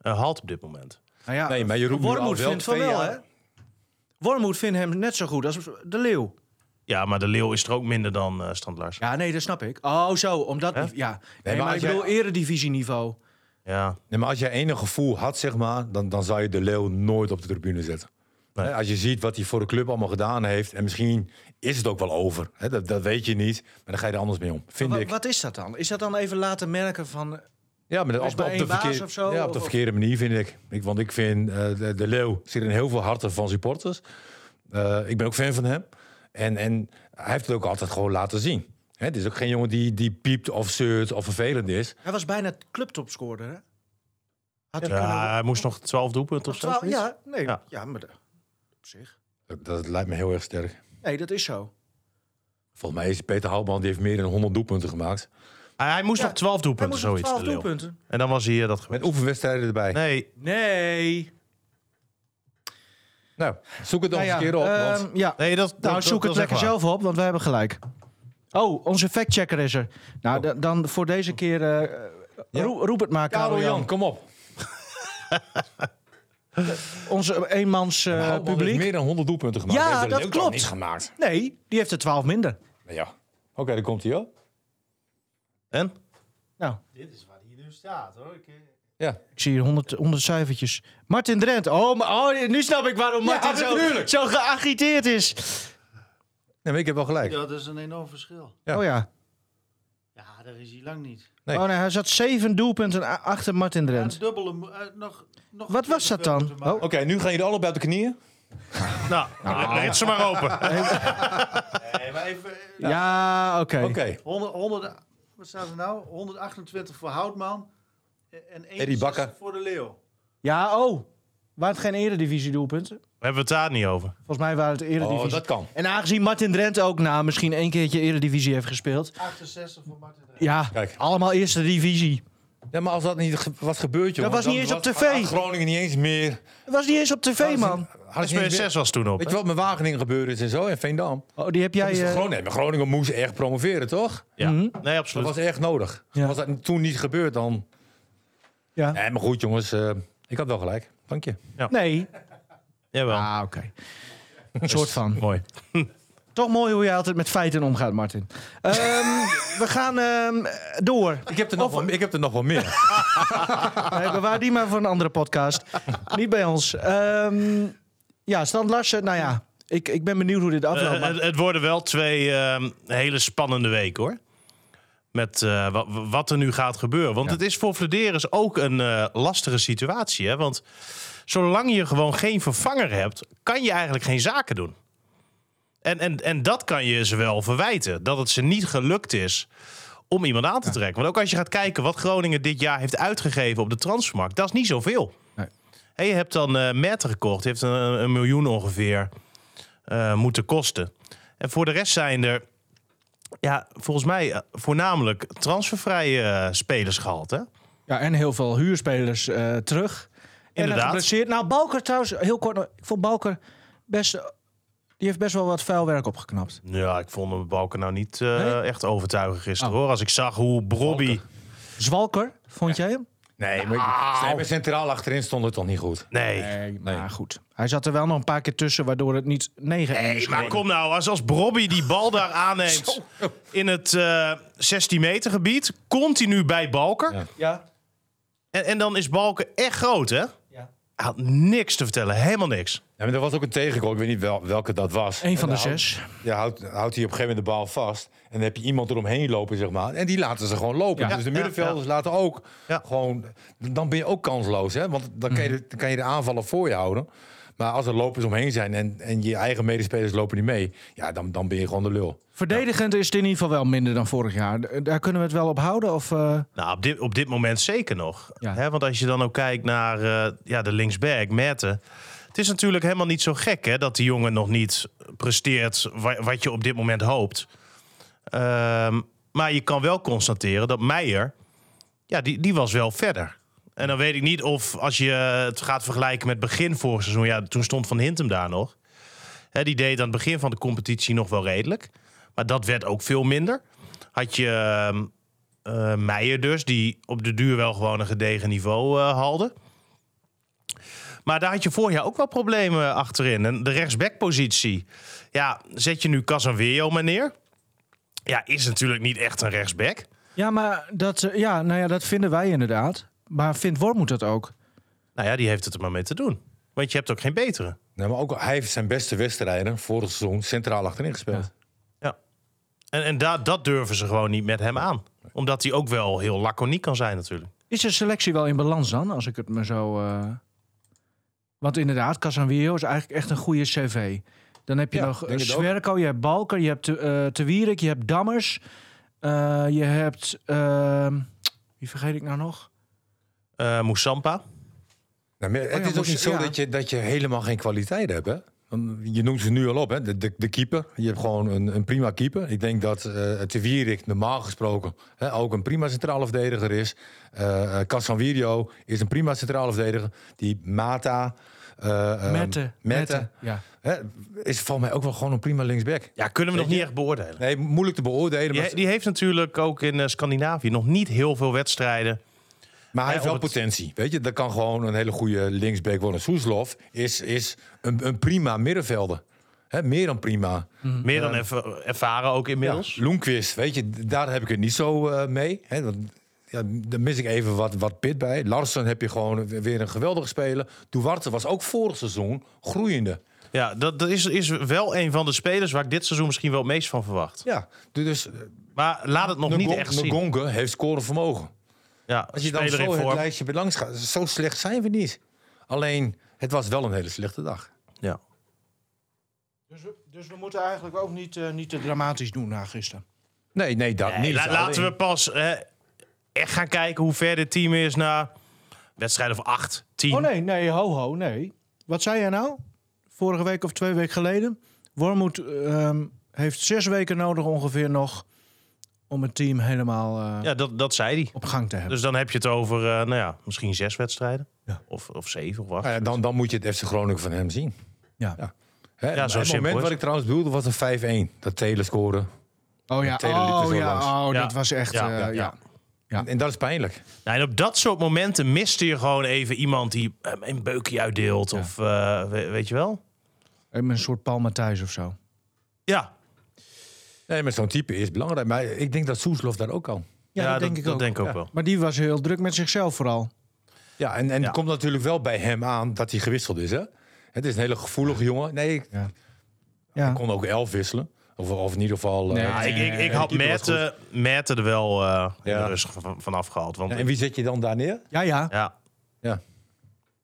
[SPEAKER 3] eh haalt op dit moment.
[SPEAKER 2] Nou ja,
[SPEAKER 4] Nee, maar je roept nu al
[SPEAKER 2] Wormoed
[SPEAKER 4] wel
[SPEAKER 2] vindt van
[SPEAKER 4] twee
[SPEAKER 2] wel,
[SPEAKER 4] jaar.
[SPEAKER 2] hè? Wormoed vindt hem net zo goed als de Leeuw.
[SPEAKER 3] Ja, maar de Leeuw is er ook minder dan eh Strand Larsen.
[SPEAKER 2] Ja, nee, dat snap ik. Oh, zo, omdat... Ja, nee,
[SPEAKER 4] maar
[SPEAKER 2] maar,
[SPEAKER 4] als
[SPEAKER 2] ik
[SPEAKER 4] jij-
[SPEAKER 2] bedoel eredivisieniveau.
[SPEAKER 3] Ja.
[SPEAKER 4] Nee, maar als jij enig gevoel had, zeg maar, dan, dan zou je de Leeuw nooit op de tribune zetten.
[SPEAKER 3] Nee.
[SPEAKER 4] Hè, Als je ziet wat hij voor de club allemaal gedaan heeft, en misschien is het ook wel over. Hè, dat, dat weet je niet, maar dan ga je er anders mee om, vind
[SPEAKER 2] Wa-
[SPEAKER 4] ik.
[SPEAKER 2] Wat is dat dan? Is dat dan even laten merken van... eh,
[SPEAKER 4] Ja, maar dat-
[SPEAKER 2] Er is
[SPEAKER 4] op,
[SPEAKER 2] maar
[SPEAKER 4] op
[SPEAKER 2] één
[SPEAKER 4] de
[SPEAKER 2] baas
[SPEAKER 4] verkeerde,
[SPEAKER 2] of zo,
[SPEAKER 4] ja, op de
[SPEAKER 2] of-
[SPEAKER 4] verkeerde manier, vind ik. ik want ik vind, eh, de, de Leeuw zit in heel veel harten van supporters. Eh, ik ben ook fan van hem. En, en hij heeft het ook altijd gewoon laten zien. Hè, het is ook geen jongen die, die piept of zeurt of vervelend is.
[SPEAKER 2] Hij was bijna clubtopscorer, hè? Had hij
[SPEAKER 3] ja, hij moest nog 12 doelpunten of zo.
[SPEAKER 2] kunnen... Ja, nee, ja.
[SPEAKER 3] Ja.
[SPEAKER 2] maar de- op zich.
[SPEAKER 4] Dat, dat lijkt me heel erg sterk.
[SPEAKER 2] Nee, dat is zo.
[SPEAKER 4] Volgens mij is Peter Houtman, die heeft meer dan 100 doelpunten gemaakt.
[SPEAKER 3] Hij, hij moest
[SPEAKER 2] Ja,
[SPEAKER 3] nog 12
[SPEAKER 2] Hij
[SPEAKER 3] doelpunten,
[SPEAKER 2] moest nog
[SPEAKER 3] zoiets.
[SPEAKER 2] 12
[SPEAKER 3] De Leeuw.
[SPEAKER 2] doelpunten.
[SPEAKER 3] En dan was hij eh, dat geweest.
[SPEAKER 4] Met oefenwedstrijden erbij.
[SPEAKER 3] Nee,
[SPEAKER 2] Nee.
[SPEAKER 4] Nou, zoek het dan
[SPEAKER 2] Nou ja,
[SPEAKER 4] eens een keer op. want
[SPEAKER 2] ehm, ja.
[SPEAKER 3] nee dat,
[SPEAKER 2] Nou, zoek het lekker zelf op, want wij hebben gelijk. Oh, onze factchecker is er. Nou,
[SPEAKER 4] Oh.
[SPEAKER 2] da- dan voor deze keer... eh, roe- roep het maar,
[SPEAKER 4] Karel
[SPEAKER 2] Karel
[SPEAKER 4] Jan, Eh,
[SPEAKER 2] Jan.
[SPEAKER 4] kom op.
[SPEAKER 2] Onze eenmans eh,
[SPEAKER 4] Houtman heeft
[SPEAKER 2] publiek.
[SPEAKER 4] Nou, meer dan 100 doelpunten gemaakt.
[SPEAKER 2] Ja,
[SPEAKER 4] Heeft de
[SPEAKER 2] dat
[SPEAKER 4] Leeuw toch
[SPEAKER 2] klopt.
[SPEAKER 4] niet gemaakt.
[SPEAKER 2] Nee, die heeft er 12 minder.
[SPEAKER 4] Nou ja. Oké, daar komt hij hoor.
[SPEAKER 3] En?
[SPEAKER 2] Nou,
[SPEAKER 5] Dit is waar hij nu staat hoor. Ik, eh,
[SPEAKER 4] Ja.
[SPEAKER 2] Ik zie hier 100, 100 cijfertjes. Martin Drent. Oh, maar, oh, nu snap ik waarom Martin zo,
[SPEAKER 4] natuurlijk.
[SPEAKER 2] zo geagiteerd is.
[SPEAKER 4] Nee, maar ik heb wel gelijk.
[SPEAKER 5] dat is een enorm verschil.
[SPEAKER 4] Ja.
[SPEAKER 2] Oh ja.
[SPEAKER 5] Ja, daar is hij lang niet.
[SPEAKER 4] Nee.
[SPEAKER 2] Oh nee, hij zat zeven doelpunten a- achter Martin
[SPEAKER 5] Ja,
[SPEAKER 2] Drent.
[SPEAKER 5] een dubbele, mo- eh, nog, nog
[SPEAKER 2] Wat was dat dan?
[SPEAKER 5] Oh.
[SPEAKER 4] Oké, nu gaan jullie allebei op de knieën.
[SPEAKER 3] Nou, rit ze maar open.
[SPEAKER 5] Nee, maar even, eh,
[SPEAKER 2] Ja, oké.
[SPEAKER 4] Oké.
[SPEAKER 5] 100, 100, wat staat er nou? 128 voor Houtman. eh, En 1
[SPEAKER 4] Bakker.
[SPEAKER 5] voor de Leeuw.
[SPEAKER 2] Ja, oh. Waren het geen eredivisie doelpunten?
[SPEAKER 3] hebben we het daar niet over.
[SPEAKER 2] Volgens mij waren het eredivisie.
[SPEAKER 4] Oh, dat kan.
[SPEAKER 2] En aangezien Martin Drent ook na misschien één keertje eredivisie heeft gespeeld.
[SPEAKER 5] 68 voor Martin Drent.
[SPEAKER 2] Ja,
[SPEAKER 4] Kijk.
[SPEAKER 2] allemaal eerste divisie.
[SPEAKER 4] Ja, maar als dat niet ge- was gebeurd, jongen.
[SPEAKER 2] was
[SPEAKER 4] dan
[SPEAKER 2] niet eens op
[SPEAKER 4] was-
[SPEAKER 2] tv.
[SPEAKER 4] had Groningen niet eens meer.
[SPEAKER 2] Dat was niet eens op tv, man.
[SPEAKER 4] Had ik niet eens meer-
[SPEAKER 3] SP6 was toen op.
[SPEAKER 4] Weet
[SPEAKER 3] hè?
[SPEAKER 4] je wat met Wageningen gebeurd is en zo en Veendam?
[SPEAKER 2] Oh, die heb jij...
[SPEAKER 4] Dus
[SPEAKER 2] eh,
[SPEAKER 4] Groningen, maar Groningen moest echt promoveren, toch?
[SPEAKER 3] Ja.
[SPEAKER 2] Mhm.
[SPEAKER 3] Nee,
[SPEAKER 4] Dat
[SPEAKER 3] absoluut.
[SPEAKER 4] was echt nodig.
[SPEAKER 2] Ja.
[SPEAKER 4] Was dat toen niet gebeurd, dan...
[SPEAKER 2] Ja.
[SPEAKER 4] Nee, maar goed, jongens. eh, ik had wel gelijk. Dank je.
[SPEAKER 2] Nee.
[SPEAKER 3] Jawel.
[SPEAKER 2] Ah, oké. Een soort van.
[SPEAKER 3] Mooi.
[SPEAKER 2] Toch mooi hoe je altijd met feiten omgaat, Martin. Ehm, <laughs> we gaan ehm, door.
[SPEAKER 4] Ik heb er nog, wel, ik heb er nog wel meer.
[SPEAKER 2] Nee, bewaar die maar voor een andere podcast. Niet bij ons. Ehm, ja, Stan Larsen, nou ja. Ik, ik ben benieuwd hoe dit afloopt.
[SPEAKER 3] <laughs> Eh,
[SPEAKER 2] maar-
[SPEAKER 3] het, het worden wel twee ehm, hele spannende weken hoor. Met eh, wa- wa- wat er nu gaat gebeuren. Want het is voor Flederis ook een eh, lastige situatie. Hè? Want zolang je gewoon geen vervanger hebt, kan je eigenlijk geen zaken doen. En, en, en dat kan je ze wel verwijten. Dat het ze niet gelukt is om iemand aan te trekken. Want ook als je gaat kijken wat Groningen dit jaar heeft uitgegeven op de transfermarkt. Dat is niet zoveel.
[SPEAKER 2] Nee.
[SPEAKER 3] Hey, je hebt dan eh Merten gekocht. Die heeft een, een miljoen ongeveer eh, moeten kosten. En voor de rest zijn er, ja, volgens mij eh, voornamelijk transfervrije eh, spelers gehaald. Hè?
[SPEAKER 2] ja, en heel veel huurspelers eh, terug. En dan
[SPEAKER 3] Inderdaad.
[SPEAKER 2] geblesseerd. Nou, Balker trouwens, heel kort. nog. Ik vond Balker best... Die heeft best wel wat vuil werk opgeknapt.
[SPEAKER 3] Ja, ik vond de Balken nou niet eh,
[SPEAKER 2] Nee?
[SPEAKER 3] echt overtuigend gisteren hoor. Als ik zag hoe Brobby.
[SPEAKER 2] Zwalker, vond jij hem?
[SPEAKER 3] Nee,
[SPEAKER 4] Nee,
[SPEAKER 3] maar...
[SPEAKER 4] maar centraal achterin stond het toch niet goed.
[SPEAKER 3] Nee.
[SPEAKER 2] Maar goed, hij zat er wel nog een paar keer tussen, waardoor het niet 9 is.
[SPEAKER 3] maar kom nou, als, als Bobby die bal daar aanneemt in het eh 16 meter gebied, continu bij Balker.
[SPEAKER 4] Ja.
[SPEAKER 2] Ja.
[SPEAKER 3] En, en dan is Balken echt groot, hè? Hij had niks te vertellen, helemaal niks.
[SPEAKER 4] Ja, maar er was ook een tegengoal. Ik weet niet wel, welke dat was.
[SPEAKER 2] Eén van
[SPEAKER 4] En
[SPEAKER 2] de
[SPEAKER 4] dan
[SPEAKER 2] zes.
[SPEAKER 4] houdt- Ja, houdt, houdt hij op een gegeven moment de bal vast. En dan heb je iemand eromheen lopen, zeg maar. En die laten ze gewoon lopen.
[SPEAKER 2] Ja.
[SPEAKER 4] Dus de middenvelders laten ook
[SPEAKER 3] Ja.
[SPEAKER 4] gewoon... Dan ben je ook kansloos, hè. Want dan kan je, de- dan kan je de aanvallen voor je houden. Maar als er lopers omheen zijn en, en je eigen medespelers lopen niet mee... Ja, dan, dan ben je gewoon de lul.
[SPEAKER 2] Verdedigend is het in ieder geval wel minder dan vorig jaar. D- Daar kunnen we het wel op houden? Of, eh,
[SPEAKER 3] Nou, op dit, op dit moment zeker nog.
[SPEAKER 2] Ja.
[SPEAKER 3] Hè, want als je dan ook kijkt naar eh, ja, de linksback, Merten. Het is natuurlijk helemaal niet zo gek hè, dat die jongen nog niet presteert wa- wat je op dit moment hoopt. Ehm, maar je kan wel constateren dat Meijer, ja, die, die was wel verder. En dan weet ik niet of als je het gaat vergelijken met begin vorig seizoen. Ja, toen stond Van Hintem daar nog. Hè, die deed aan het begin van de competitie nog wel redelijk. Maar dat werd ook veel minder. Had je ehm, eh, Meijer dus, die op de duur wel gewoon een gedegen niveau eh haalde. Maar daar had je vorig jaar ook wel problemen achterin. En de rechtsbackpositie. Ja, zet je nu Casanweo maar neer. Ja, is natuurlijk niet echt een rechtsback.
[SPEAKER 2] Ja, maar dat, eh, ja, nou ja, dat vinden wij inderdaad. Maar vindt Wormoed dat ook?
[SPEAKER 3] Nou ja, die heeft het er maar mee te doen. Want je hebt ook geen betere.
[SPEAKER 4] Nee, Nou, maar ook, hij heeft zijn beste wedstrijden vorig seizoen centraal achterin gespeeld.
[SPEAKER 3] Ja. En, en da- dat durven ze gewoon niet met hem aan. Omdat hij ook wel heel laconiek kan zijn natuurlijk.
[SPEAKER 2] Is de selectie wel in balans dan, als ik het me zo... eh, Want inderdaad, Casanwio is eigenlijk echt een goede cv. Dan heb je
[SPEAKER 4] Ja,
[SPEAKER 2] nog eh,
[SPEAKER 4] denk het ook.
[SPEAKER 2] Zwerko, je hebt Balker, je hebt eh Te Wierik, je hebt Dammers. eh, je hebt... eh, wie vergeet ik nou nog?
[SPEAKER 3] Eh Moussampa.
[SPEAKER 4] Nou, maar het
[SPEAKER 2] ja,
[SPEAKER 4] is ook
[SPEAKER 2] moest-
[SPEAKER 4] niet zo
[SPEAKER 2] ja.
[SPEAKER 4] dat, je, dat je helemaal geen kwaliteit hebt. Hè? Want Je noemt ze nu al op, hè? De, de, de keeper. Je hebt gewoon een, een prima keeper. Ik denk dat eh Te Wierik normaal gesproken hè, ook een prima centrale verdediger is. Eh eh, Casanvirio is een prima centrale verdediger. Die Mata... eh, eh,
[SPEAKER 2] Mette.
[SPEAKER 4] Mette.
[SPEAKER 2] Ja.
[SPEAKER 4] Hè, is voor mij ook wel gewoon een prima linksback.
[SPEAKER 3] Ja, kunnen we nog niet echt beoordelen.
[SPEAKER 4] Nee, moeilijk te beoordelen.
[SPEAKER 3] Die,
[SPEAKER 4] maar,
[SPEAKER 3] he- die heeft natuurlijk ook in eh, Scandinavië nog niet heel veel wedstrijden.
[SPEAKER 4] maar hij heeft
[SPEAKER 3] Ja,
[SPEAKER 4] wel
[SPEAKER 3] of het-
[SPEAKER 4] potentie. Weet je, dat kan gewoon een hele goede linksback worden. Soeslof is, is een, een prima middenvelder. Hè, meer dan prima.
[SPEAKER 3] Meer dan erva- ervaren ook inmiddels.
[SPEAKER 4] Hm. Eh. Ja, Loenquist, weet je, d- daar heb ik het niet zo eh, mee. Hè, want, ja, daar mis ik even wat, wat pit bij. Larsen heb je gewoon weer een geweldige speler. Duarte was ook vorig seizoen groeiende.
[SPEAKER 3] Ja, dat, dat is, is wel een van de spelers waar ik dit seizoen misschien wel het meest van verwacht.
[SPEAKER 4] Ja, du- dus eh,
[SPEAKER 3] Maar laat het nog niet
[SPEAKER 4] Ngon-
[SPEAKER 3] echt zien.
[SPEAKER 4] Ngonge heeft scorenvermogen.
[SPEAKER 3] Ja,
[SPEAKER 4] Als je dan
[SPEAKER 3] speler in
[SPEAKER 4] zo het
[SPEAKER 3] vorm.
[SPEAKER 4] lijstje belangs gaat, zo slecht zijn we niet. Alleen, het was wel een hele slechte dag.
[SPEAKER 3] Ja.
[SPEAKER 2] Dus, we- dus we moeten eigenlijk ook niet, eh, niet te dramatisch doen na gisteren.
[SPEAKER 4] Nee, nee, dat
[SPEAKER 3] Nee,
[SPEAKER 4] niet.
[SPEAKER 3] la- laten we
[SPEAKER 4] Alleen-
[SPEAKER 3] pas eh, echt gaan kijken hoe ver dit team is na wedstrijd of 8, 10.
[SPEAKER 2] Oh nee, nee, ho, ho, nee. Wat zei jij nou? Vorige week of twee weken geleden. Wormoed ehm, heeft zes weken nodig ongeveer nog om het team helemaal eh,
[SPEAKER 3] Ja, dat, dat zei hij.
[SPEAKER 2] op gang te hebben.
[SPEAKER 3] Dus dan heb je het over eh, nou ja, misschien zes wedstrijden.
[SPEAKER 2] Ja.
[SPEAKER 3] Of, of zeven of acht.
[SPEAKER 4] Nou ja, dan, dan moet je het FC Groningen van hem zien.
[SPEAKER 3] Dus
[SPEAKER 2] ja.
[SPEAKER 4] Hè,
[SPEAKER 3] zo
[SPEAKER 4] het
[SPEAKER 3] simpel
[SPEAKER 4] moment
[SPEAKER 3] is
[SPEAKER 4] wat ik trouwens bedoelde was een 5-1. Dat Telen scoren.
[SPEAKER 2] Oh ja,
[SPEAKER 4] Taylor liep er
[SPEAKER 2] oh,
[SPEAKER 4] zo
[SPEAKER 2] ja,
[SPEAKER 4] langs.
[SPEAKER 2] oh
[SPEAKER 3] Ja.
[SPEAKER 2] dat was echt...
[SPEAKER 3] Ja,
[SPEAKER 2] eh,
[SPEAKER 3] ja,
[SPEAKER 2] ja,
[SPEAKER 3] ja.
[SPEAKER 2] Ja.
[SPEAKER 4] En dat is pijnlijk.
[SPEAKER 3] Nou, en op dat soort momenten miste je gewoon even iemand die eh, een beukje uitdeelt. Of eh, we- weet je wel?
[SPEAKER 2] Even Een soort Paul Matthijs of zo.
[SPEAKER 3] Ja,
[SPEAKER 4] Nee, maar zo'n type is belangrijk. Maar ik denk dat Soeslof daar ook kan.
[SPEAKER 2] Ja, dat,
[SPEAKER 3] dat,
[SPEAKER 2] denk ik ook.
[SPEAKER 3] denk ik ook wel.
[SPEAKER 2] Maar die was heel druk met zichzelf vooral.
[SPEAKER 4] Ja, en, en
[SPEAKER 3] Ja.
[SPEAKER 4] het komt natuurlijk wel bij hem aan dat hij gewisseld is, hè? Het is een hele gevoelige jongen. Nee, ik
[SPEAKER 2] Ja.
[SPEAKER 4] kon ook elf wisselen. Of, of in ieder geval... eh,
[SPEAKER 2] Nee.
[SPEAKER 3] Ja, ik, ik, ik
[SPEAKER 4] de
[SPEAKER 3] had
[SPEAKER 4] keeper was
[SPEAKER 3] Merten Merten er wel eh in de
[SPEAKER 4] Ja.
[SPEAKER 3] rust van, vanaf gehaald. Want,
[SPEAKER 4] ja,
[SPEAKER 3] ja,
[SPEAKER 4] en wie zet je dan daar neer?
[SPEAKER 2] ja, ja.
[SPEAKER 3] ja,
[SPEAKER 4] Ja.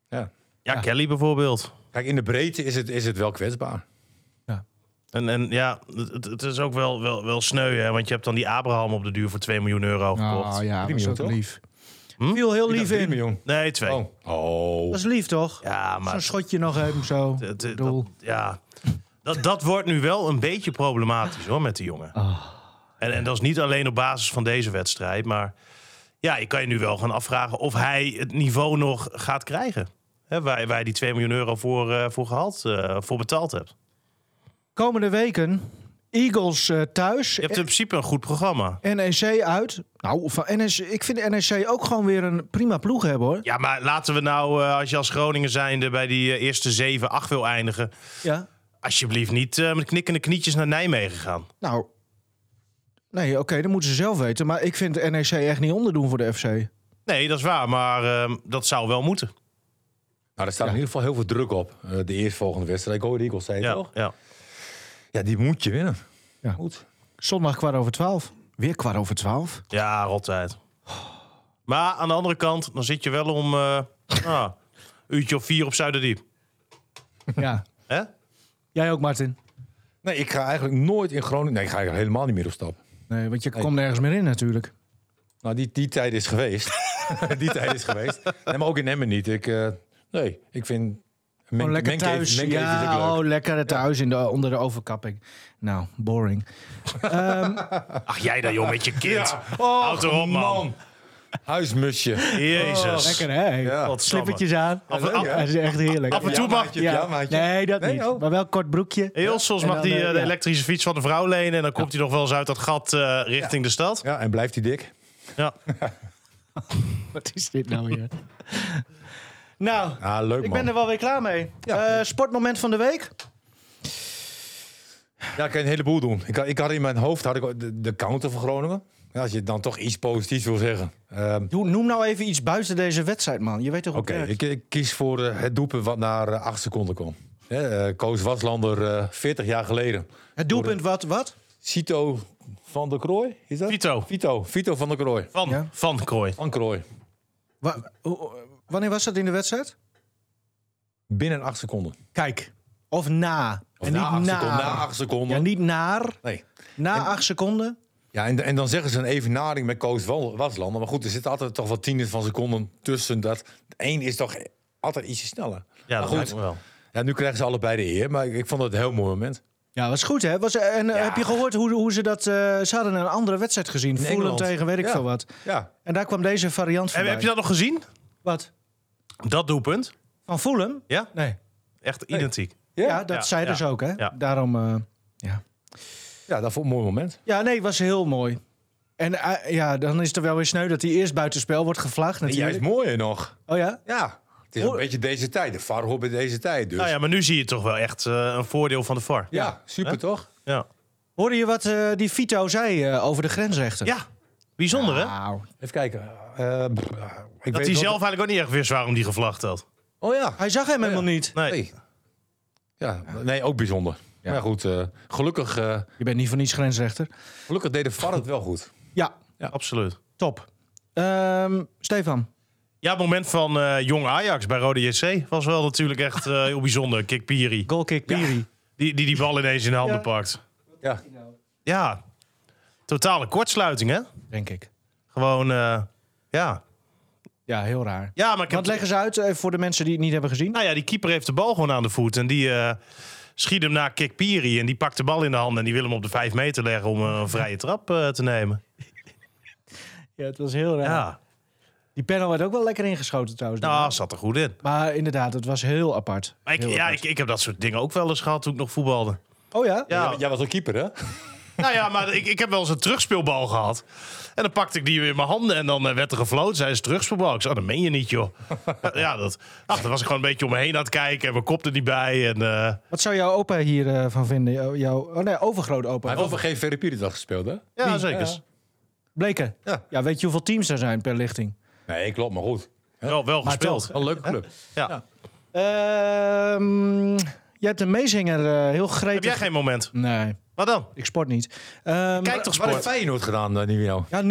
[SPEAKER 4] ja.
[SPEAKER 2] Ja.
[SPEAKER 3] Kelly bijvoorbeeld.
[SPEAKER 4] Kijk, in de breedte is het, is het wel kwetsbaar.
[SPEAKER 3] En, en ja, het, het is ook wel, wel, wel sneu, hè, want je hebt dan die Abraham op de duur voor 2 miljoen euro gekocht.
[SPEAKER 2] Oh ja, dat
[SPEAKER 4] Drie
[SPEAKER 2] is
[SPEAKER 4] miljoen,
[SPEAKER 2] ook
[SPEAKER 4] toch?
[SPEAKER 2] lief.
[SPEAKER 3] Hm?
[SPEAKER 2] Viel heel
[SPEAKER 4] Ik dacht
[SPEAKER 2] lief
[SPEAKER 4] drie
[SPEAKER 2] in.
[SPEAKER 4] miljoen.
[SPEAKER 3] Nee, twee.
[SPEAKER 4] Oh. oh.
[SPEAKER 2] Dat is lief toch?
[SPEAKER 3] Ja, maar
[SPEAKER 2] Zo'n schotje nog even zo.
[SPEAKER 3] het- het-
[SPEAKER 2] Doel.
[SPEAKER 3] dat, ja, dat, dat wordt nu wel een beetje problematisch hoor, met die jongen. En, en dat is niet alleen op basis van deze wedstrijd, maar ja, je kan je nu wel gaan afvragen of hij het niveau nog gaat krijgen. Hè, waar, waar je die 2 miljoen euro voor, eh, voor, gehaald, eh, voor betaald hebt.
[SPEAKER 2] Komende weken Eagles eh, thuis.
[SPEAKER 3] Je hebt in principe een goed programma.
[SPEAKER 2] NEC E uit. Nou, van NEC, ik vind NEC ook gewoon weer een prima ploeg hebben hoor.
[SPEAKER 3] Ja, maar laten we nou, eh, als je als Groningen zijnde bij die eh, eerste 7, 8 wil eindigen.
[SPEAKER 2] Ja.
[SPEAKER 3] Alsjeblieft niet eh, met knikkende knietjes naar Nijmegen gaan.
[SPEAKER 2] Nou, nee, oké, dat moeten ze zelf weten. Maar ik vind NEC echt niet onderdoen voor de FC.
[SPEAKER 3] Nee, dat is waar, maar ehm, dat zou wel moeten.
[SPEAKER 4] Nou, er staat in ieder geval heel veel druk op. eh, de eerstvolgende wedstrijd. Ik hoorde Eagles, zei het
[SPEAKER 3] Ja,
[SPEAKER 4] toch?
[SPEAKER 3] ja.
[SPEAKER 4] Ja, die moet je winnen.
[SPEAKER 2] Ja.
[SPEAKER 4] Goed.
[SPEAKER 2] Zondag kwart over twaalf. Weer kwart over twaalf.
[SPEAKER 3] ja rottijd. Maar aan de andere kant, dan zit je wel om eh ah, uurtje of vier op Zuiderdiep.
[SPEAKER 2] <laughs> Ja.
[SPEAKER 3] Hè?
[SPEAKER 2] Jij ook, Martin?
[SPEAKER 4] Nee, ik ga eigenlijk nooit in Groningen... Nee, ik ga eigenlijk helemaal niet meer op stap.
[SPEAKER 2] Nee, want je komt nergens meer in natuurlijk.
[SPEAKER 4] Nou, die, die tijd is geweest. <laughs> die tijd is geweest. Nee, maar ook in Emmen niet. Ik, eh, nee, ik vind...
[SPEAKER 2] Gewoon lekker
[SPEAKER 4] mengcave-
[SPEAKER 2] thuis.
[SPEAKER 4] mengcave vind ik leuk.
[SPEAKER 2] ja, oh, lekker thuis in de, onder de overkapping. Nou, boring.
[SPEAKER 3] Ach, jij daar, joh, met je kind. Houd erop, man.
[SPEAKER 4] Huismusje.
[SPEAKER 3] Oh, Jezus.
[SPEAKER 2] Oh, Lekker, hè?
[SPEAKER 4] Ja.
[SPEAKER 3] Wat
[SPEAKER 2] Slippertjes aan.
[SPEAKER 3] Af en-
[SPEAKER 4] leuk, hè?
[SPEAKER 2] Dat is echt heerlijk.
[SPEAKER 3] Af en toe mag je.
[SPEAKER 4] Ja, maatje.
[SPEAKER 2] Nee, dat
[SPEAKER 4] Nee,
[SPEAKER 2] niet.
[SPEAKER 4] oh.
[SPEAKER 2] Maar wel een kort broekje.
[SPEAKER 3] Heel soms
[SPEAKER 2] En
[SPEAKER 3] mag
[SPEAKER 2] dan,
[SPEAKER 3] die
[SPEAKER 2] eh,
[SPEAKER 3] eh, de
[SPEAKER 2] ja.
[SPEAKER 3] elektrische fiets van de vrouw lenen. En dan komt hij nog wel eens uit dat gat eh, richting de stad.
[SPEAKER 4] Ja, en blijft hij dik.
[SPEAKER 3] Ja.
[SPEAKER 4] <laughs>
[SPEAKER 2] Wat is dit nou weer? <laughs> nou,
[SPEAKER 4] Ah, leuk
[SPEAKER 2] ik
[SPEAKER 4] man.
[SPEAKER 2] ben er wel weer klaar mee.
[SPEAKER 4] Ja.
[SPEAKER 2] Eh, sportmoment van de week.
[SPEAKER 4] Ja, ik kan een heleboel doen. Ik, had- ik had in mijn hoofd had ik ook de, de counter van Groningen. Ja, als je dan toch iets positiefs wil zeggen. Ehm,
[SPEAKER 2] Doe- Noem nou even iets buiten deze wedstrijd, man. Je weet toch
[SPEAKER 4] Oké,
[SPEAKER 2] hoe het werkt?
[SPEAKER 4] ik, ik kies voor eh, het doelpunt wat naar eh, acht seconden kwam. Hè, eh, Koos Waslander, eh, 40 jaar geleden.
[SPEAKER 2] Het doelpunt wat, wat?
[SPEAKER 4] Cito van der Krooi, is dat?
[SPEAKER 3] Vito.
[SPEAKER 4] Vito, Vito van der Krooi.
[SPEAKER 3] Van,
[SPEAKER 2] Ja.
[SPEAKER 3] van Krooi.
[SPEAKER 4] Van Krooi.
[SPEAKER 2] Wa- hoe- hoe- wanneer was dat in de wedstrijd?
[SPEAKER 4] Binnen acht seconden.
[SPEAKER 2] Kijk. Of na.
[SPEAKER 4] Of
[SPEAKER 2] en
[SPEAKER 4] na, acht
[SPEAKER 2] niet naar.
[SPEAKER 4] seconden. Na acht seconden.
[SPEAKER 2] Ja, niet naar.
[SPEAKER 4] Nee.
[SPEAKER 2] Na acht seconden.
[SPEAKER 4] Ja, en, en dan zeggen ze een evenaring met Koos Wal- Waslander. Maar goed, er zitten altijd toch wel tienden van seconden tussen. Dat één is toch altijd ietsje sneller.
[SPEAKER 3] Ja, dat
[SPEAKER 4] goed.
[SPEAKER 3] lijkt me wel.
[SPEAKER 4] Ja, nu krijgen ze allebei de eer, maar ik, ik vond het een heel mooi moment.
[SPEAKER 2] Ja, was goed, hè? Was, en eh,
[SPEAKER 4] Ja.
[SPEAKER 2] heb je gehoord hoe, hoe ze dat... eh, ze hadden een andere wedstrijd gezien. Fulham
[SPEAKER 4] Engeland.
[SPEAKER 2] tegen weet ik
[SPEAKER 4] Ja.
[SPEAKER 2] veel wat.
[SPEAKER 4] Ja,
[SPEAKER 2] En daar kwam deze variant van.
[SPEAKER 3] Heb, heb je dat nog gezien?
[SPEAKER 2] Wat?
[SPEAKER 3] Dat doelpunt?
[SPEAKER 2] Van Fulham?
[SPEAKER 3] Ja?
[SPEAKER 2] Nee.
[SPEAKER 3] Echt identiek.
[SPEAKER 2] Ja,
[SPEAKER 4] Ja?
[SPEAKER 2] dat
[SPEAKER 3] Ja,
[SPEAKER 2] zeiden
[SPEAKER 3] ja,
[SPEAKER 2] ze ook, hè?
[SPEAKER 3] ja.
[SPEAKER 2] Daarom... eh, ja.
[SPEAKER 4] ja dat vond ik een mooi moment.
[SPEAKER 2] Ja, nee, was heel mooi. En eh, ja, dan is het wel weer sneu dat hij eerst buitenspel wordt gevlaagd
[SPEAKER 4] En
[SPEAKER 2] natuurlijk.
[SPEAKER 4] juist mooier nog.
[SPEAKER 2] Oh ja?
[SPEAKER 4] Ja, het is een
[SPEAKER 2] Mooi.
[SPEAKER 4] beetje deze tijd. De VAR hoort bij deze tijd, dus.
[SPEAKER 3] Nou
[SPEAKER 4] ja.
[SPEAKER 3] ja, maar nu zie je toch wel echt eh, een voordeel van de VAR.
[SPEAKER 4] super toch?
[SPEAKER 3] Ja.
[SPEAKER 2] Hoorde je wat eh, die Vito zei eh, over de grensrechter?
[SPEAKER 3] ja. Bijzonder, hè?
[SPEAKER 2] Wauw.
[SPEAKER 4] Even kijken. Eh, pff, ik weet
[SPEAKER 3] Dat hij
[SPEAKER 4] nog-
[SPEAKER 3] zelf eigenlijk ook niet echt wist waarom die gevlacht had.
[SPEAKER 4] Oh ja.
[SPEAKER 2] Hij zag hem helemaal niet.
[SPEAKER 3] Nee.
[SPEAKER 4] Hey. Ja, nee, ook bijzonder. Maar goed, eh, gelukkig, eh,
[SPEAKER 2] Je bent niet van niets grensrechter.
[SPEAKER 4] gelukkig deed de VAR het wel goed.
[SPEAKER 2] Ja,
[SPEAKER 3] Absoluut.
[SPEAKER 2] top. Ehm, Stefan.
[SPEAKER 3] Ja, het moment van eh, jong Ajax bij Rode JC was wel natuurlijk echt eh, heel bijzonder. Kik Piri.
[SPEAKER 2] Goalkick Piri.
[SPEAKER 3] Die, die die bal ineens in de handen
[SPEAKER 2] Ja.
[SPEAKER 3] pakt.
[SPEAKER 4] Ja.
[SPEAKER 3] Ja. Totale kortsluiting, hè?
[SPEAKER 2] Denk ik.
[SPEAKER 3] Gewoon, eh, ja.
[SPEAKER 2] Ja, heel raar.
[SPEAKER 3] Ja, maar ik heb...
[SPEAKER 2] Wat leggen ze uit eh, voor de mensen die het niet hebben gezien?
[SPEAKER 3] Nou ja, die keeper heeft de bal gewoon aan de voet. En die eh, schiet hem naar Kikpiri. En die pakt de bal in de hand. En die wil hem op de vijf meter leggen om een vrije trap eh, te nemen.
[SPEAKER 2] Ja, het was heel raar.
[SPEAKER 3] Ja,
[SPEAKER 2] Die panel werd ook wel lekker ingeschoten trouwens.
[SPEAKER 3] nou, zat er goed in.
[SPEAKER 2] Maar inderdaad, het was heel apart.
[SPEAKER 3] Maar ik,
[SPEAKER 2] Heel
[SPEAKER 3] ja,
[SPEAKER 2] apart.
[SPEAKER 3] ik, ik heb dat soort dingen ook wel eens gehad toen ik nog voetbalde.
[SPEAKER 2] Oh ja?
[SPEAKER 3] Ja,
[SPEAKER 4] Jij was ook keeper, hè?
[SPEAKER 3] nou ja, maar ik, ik heb wel eens een terugspeelbal gehad. En dan pakte ik die weer in mijn handen en dan eh, werd er gefloten. Zij is terugspeelbal. Ik zei, oh, dat meen je niet, joh. ja, dat, ach, dan was ik gewoon een beetje om me heen aan het kijken. En we kopten niet bij. En, eh,
[SPEAKER 2] Wat zou jouw opa hiervan van vinden? Jou, jouw, oh nee, overgroot opa.
[SPEAKER 4] Hij heeft over geen Veripiridag gespeeld, hè?
[SPEAKER 3] ja, zeker.
[SPEAKER 2] Bleken. Ja.
[SPEAKER 4] Ja.
[SPEAKER 2] weet je hoeveel teams er zijn per lichting?
[SPEAKER 4] Nee, klopt, maar goed.
[SPEAKER 3] Wel, wel gespeeld.
[SPEAKER 4] Wel een leuke club.
[SPEAKER 3] Ja.
[SPEAKER 2] Ehm, jij hebt een meezinger eh, heel
[SPEAKER 3] Heb
[SPEAKER 2] gretig.
[SPEAKER 3] jij geen moment?
[SPEAKER 2] Nee,
[SPEAKER 3] Wat dan?
[SPEAKER 2] ik sport niet. Ehm,
[SPEAKER 3] Kijk toch
[SPEAKER 4] Wat heeft
[SPEAKER 3] sport.
[SPEAKER 4] Feyenoord gedaan, uh, Nivino?
[SPEAKER 2] Ja, 0-0.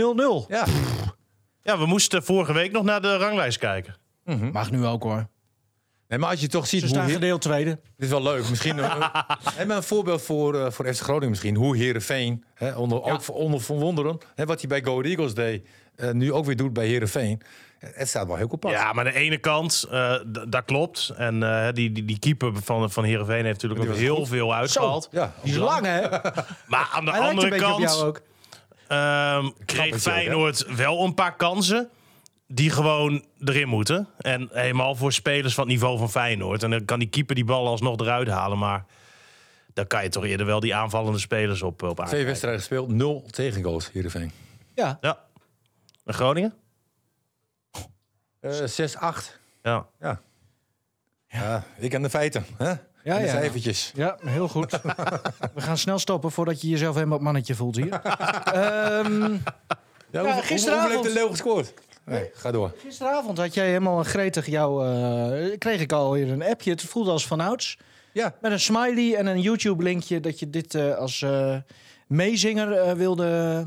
[SPEAKER 4] Ja.
[SPEAKER 3] Ja, we moesten vorige week nog naar de ranglijst kijken.
[SPEAKER 2] Mag nu ook hoor.
[SPEAKER 4] Nee, maar als je toch ziet
[SPEAKER 2] Ze
[SPEAKER 4] hoe...
[SPEAKER 2] staan
[SPEAKER 4] Heer-
[SPEAKER 2] gedeeld tweede.
[SPEAKER 4] Dit is wel
[SPEAKER 2] <laughs>
[SPEAKER 4] leuk. Misschien eh, eh, maar een voorbeeld voor, eh, voor FC Groningen misschien. Hoe Herenveen, hè, onder, ook voor- onder Van Wonderen, hè, wat hij bij Go Ahead Eagles deed, eh, nu ook weer doet bij Herenveen. Het staat wel heel compact.
[SPEAKER 3] Ja, maar aan de ene kant, eh, d- dat klopt. En eh, die, die, die keeper van, van Heerenveen heeft natuurlijk ook heel veel uitgehaald.
[SPEAKER 4] Ja,
[SPEAKER 2] Die is lang hè?
[SPEAKER 3] Maar aan de
[SPEAKER 2] Hij lijkt een
[SPEAKER 3] andere
[SPEAKER 2] beetje op jou
[SPEAKER 3] kant
[SPEAKER 2] ook.
[SPEAKER 3] ehm,
[SPEAKER 4] het
[SPEAKER 3] kreeg
[SPEAKER 4] ook,
[SPEAKER 3] Feyenoord wel een paar kansen die gewoon erin moeten. En helemaal voor spelers van het niveau van Feyenoord. En dan kan die keeper die bal alsnog eruit halen. Maar Dan kan je toch eerder wel die aanvallende spelers op, eh, op aankijken.
[SPEAKER 4] Twee wedstrijden gespeeld, nul tegengoals, Heerenveen.
[SPEAKER 2] Ja.
[SPEAKER 3] Ja. En Groningen?
[SPEAKER 4] Eh 6-8.
[SPEAKER 3] Ja.
[SPEAKER 4] Ja. ja. Ik aan de feiten. Hè?
[SPEAKER 2] Ja,
[SPEAKER 4] en de
[SPEAKER 2] ja.
[SPEAKER 4] cijfertjes.
[SPEAKER 2] Ja, heel <laughs> goed. We gaan snel stoppen voordat je jezelf helemaal het mannetje voelt hier. Ehm,
[SPEAKER 4] Ja, hoeveel-
[SPEAKER 2] gisteravond.
[SPEAKER 4] Hoeveel heeft de Leeuw gescoord? Nee, ga door.
[SPEAKER 2] gisteravond had jij helemaal gretig jouw... eh, kreeg ik alweer een appje. Het voelde als vanouds.
[SPEAKER 4] Ja.
[SPEAKER 2] Met een smiley en een YouTube-linkje dat je dit eh, als eh, meezinger eh, wilde...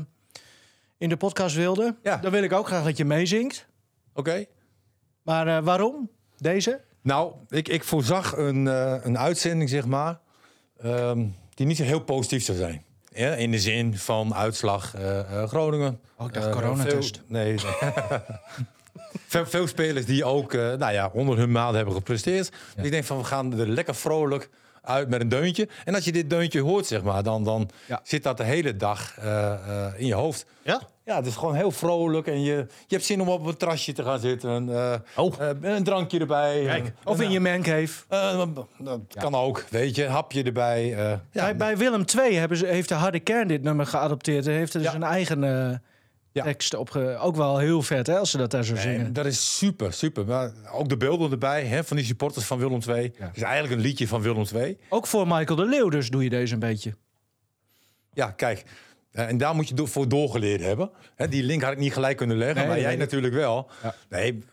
[SPEAKER 2] In de podcast wilde.
[SPEAKER 4] Ja.
[SPEAKER 2] Dan wil ik ook graag dat je meezingt.
[SPEAKER 4] Oké.
[SPEAKER 2] Maar eh, waarom? Deze?
[SPEAKER 4] Nou, ik, ik voorzag een, eh, een uitzending, zeg maar, ehm, die niet zo heel positief zou zijn. Ja, in de zin van uitslag eh, eh, Groningen.
[SPEAKER 2] Oh, ik dacht
[SPEAKER 4] Eh,
[SPEAKER 2] coronatest.
[SPEAKER 4] veel- nee. <laughs> veel, veel spelers die ook eh, nou ja, onder hun maat hebben gepresteerd. Dus ik denk van, we gaan er lekker vrolijk uit met een deuntje. En als je dit deuntje hoort, zeg maar, dan, dan
[SPEAKER 2] Ja.
[SPEAKER 4] zit dat de hele dag eh, eh, in je hoofd.
[SPEAKER 3] Ja?
[SPEAKER 4] Ja, het is gewoon heel vrolijk en je, je hebt zin om op een terrasje te gaan zitten. eh,
[SPEAKER 3] Oh.
[SPEAKER 4] eh, een drankje erbij.
[SPEAKER 3] Kijk.
[SPEAKER 2] Of
[SPEAKER 4] Nou.
[SPEAKER 2] in je mancave.
[SPEAKER 4] Eh, dat kan ook, weet je. Hapje erbij. eh. ja,
[SPEAKER 2] bij, bij Willem II hebben ze, heeft de harde kern dit nummer geadopteerd. En heeft er dus
[SPEAKER 4] Ja.
[SPEAKER 2] een eigen eh,
[SPEAKER 4] Ja.
[SPEAKER 2] tekst op. ge- Ook wel heel vet, hè, als ze dat daar zo
[SPEAKER 4] nee,
[SPEAKER 2] zingen.
[SPEAKER 4] dat is super, super. Maar ook de beelden erbij hè, van die supporters van Willem II. Het is eigenlijk een liedje van Willem II.
[SPEAKER 2] Ook voor Michael de Leeuw dus doe je deze een beetje.
[SPEAKER 4] Ja, kijk. Eh, en daar moet je do- voor doorgeleerd hebben. Hè, die link had ik niet gelijk kunnen leggen,
[SPEAKER 2] Nee,
[SPEAKER 4] maar
[SPEAKER 2] dat
[SPEAKER 4] jij
[SPEAKER 2] weet ik.
[SPEAKER 4] natuurlijk wel. Nee,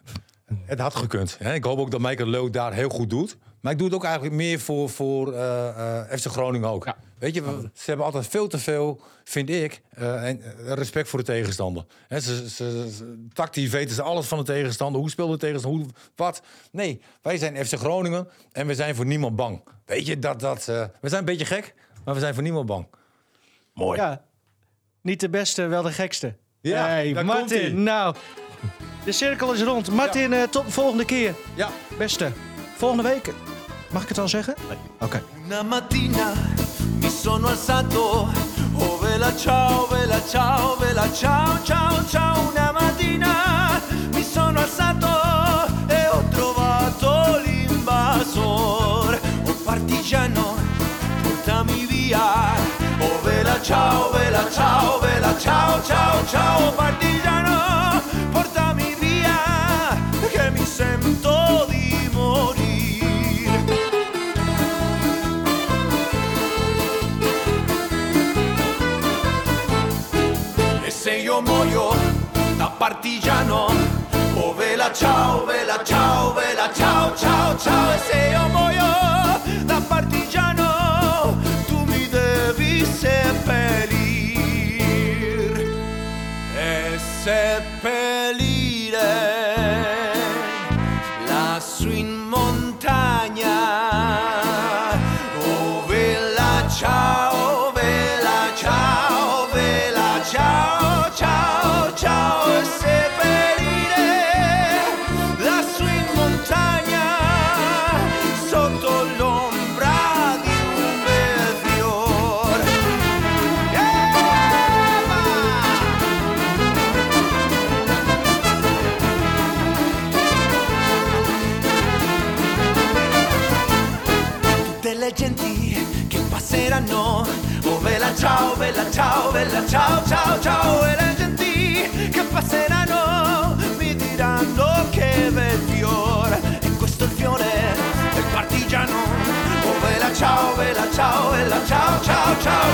[SPEAKER 4] het had gekund. Hè. Ik hoop ook dat Michael Leuk daar heel goed doet. Maar ik doe het ook eigenlijk meer voor, voor eh, eh, FC Groningen ook. Weet je, we- ze hebben altijd veel te veel, vind ik, eh, en eh, respect voor de tegenstander. Hè, ze, ze, ze- tactisch weten ze alles van de tegenstander. Hoe speelt de tegenstander? Hoe, wat? Nee, wij zijn FC Groningen en we zijn voor niemand bang. Weet je, dat, dat, eh, we zijn een beetje gek, maar we zijn voor niemand bang.
[SPEAKER 3] Mooi.
[SPEAKER 2] Ja, niet de beste, wel de gekste.
[SPEAKER 4] Ja,
[SPEAKER 2] hey,
[SPEAKER 4] daar komt-ie.
[SPEAKER 2] Martin, nou. De cirkel is rond. Martin, eh, tot de volgende keer.
[SPEAKER 4] Ja.
[SPEAKER 2] Beste, volgende week. Mag ik het al zeggen? Oké.
[SPEAKER 6] Una mattina mi sono alzato, oh vela ciao, vela ciao, vela ciao, ciao, ciao. Una mattina mi sono alzato e ho trovato l'invasor, oh partigiano, portami via. Oh vela ciao, vela ciao, vela ciao, ciao, ciao, partigiano, portami via, che mi sento di morire. E se io muoio da partigiano Oh vela ciao, vela ciao, vela ciao, ciao, ciao E se io muoio da partigiano Tu mi devi seppellir E seppellire lassù in montagna. Oh vela ciao, vela ciao, vela ciao, ciao, ciao e seppellire lassù in montagna sotto l'ombra di un bel fior. Yeah! tutte le genti che passeranno. Oh vela ciao, vela ciao, vela ciao, ciao, ciao. E le genti che passeranno mi diranno che bel fiore. E questo è il fiore del partigiano. Oh vela ciao, vela ciao, vela ciao, ciao, ciao. E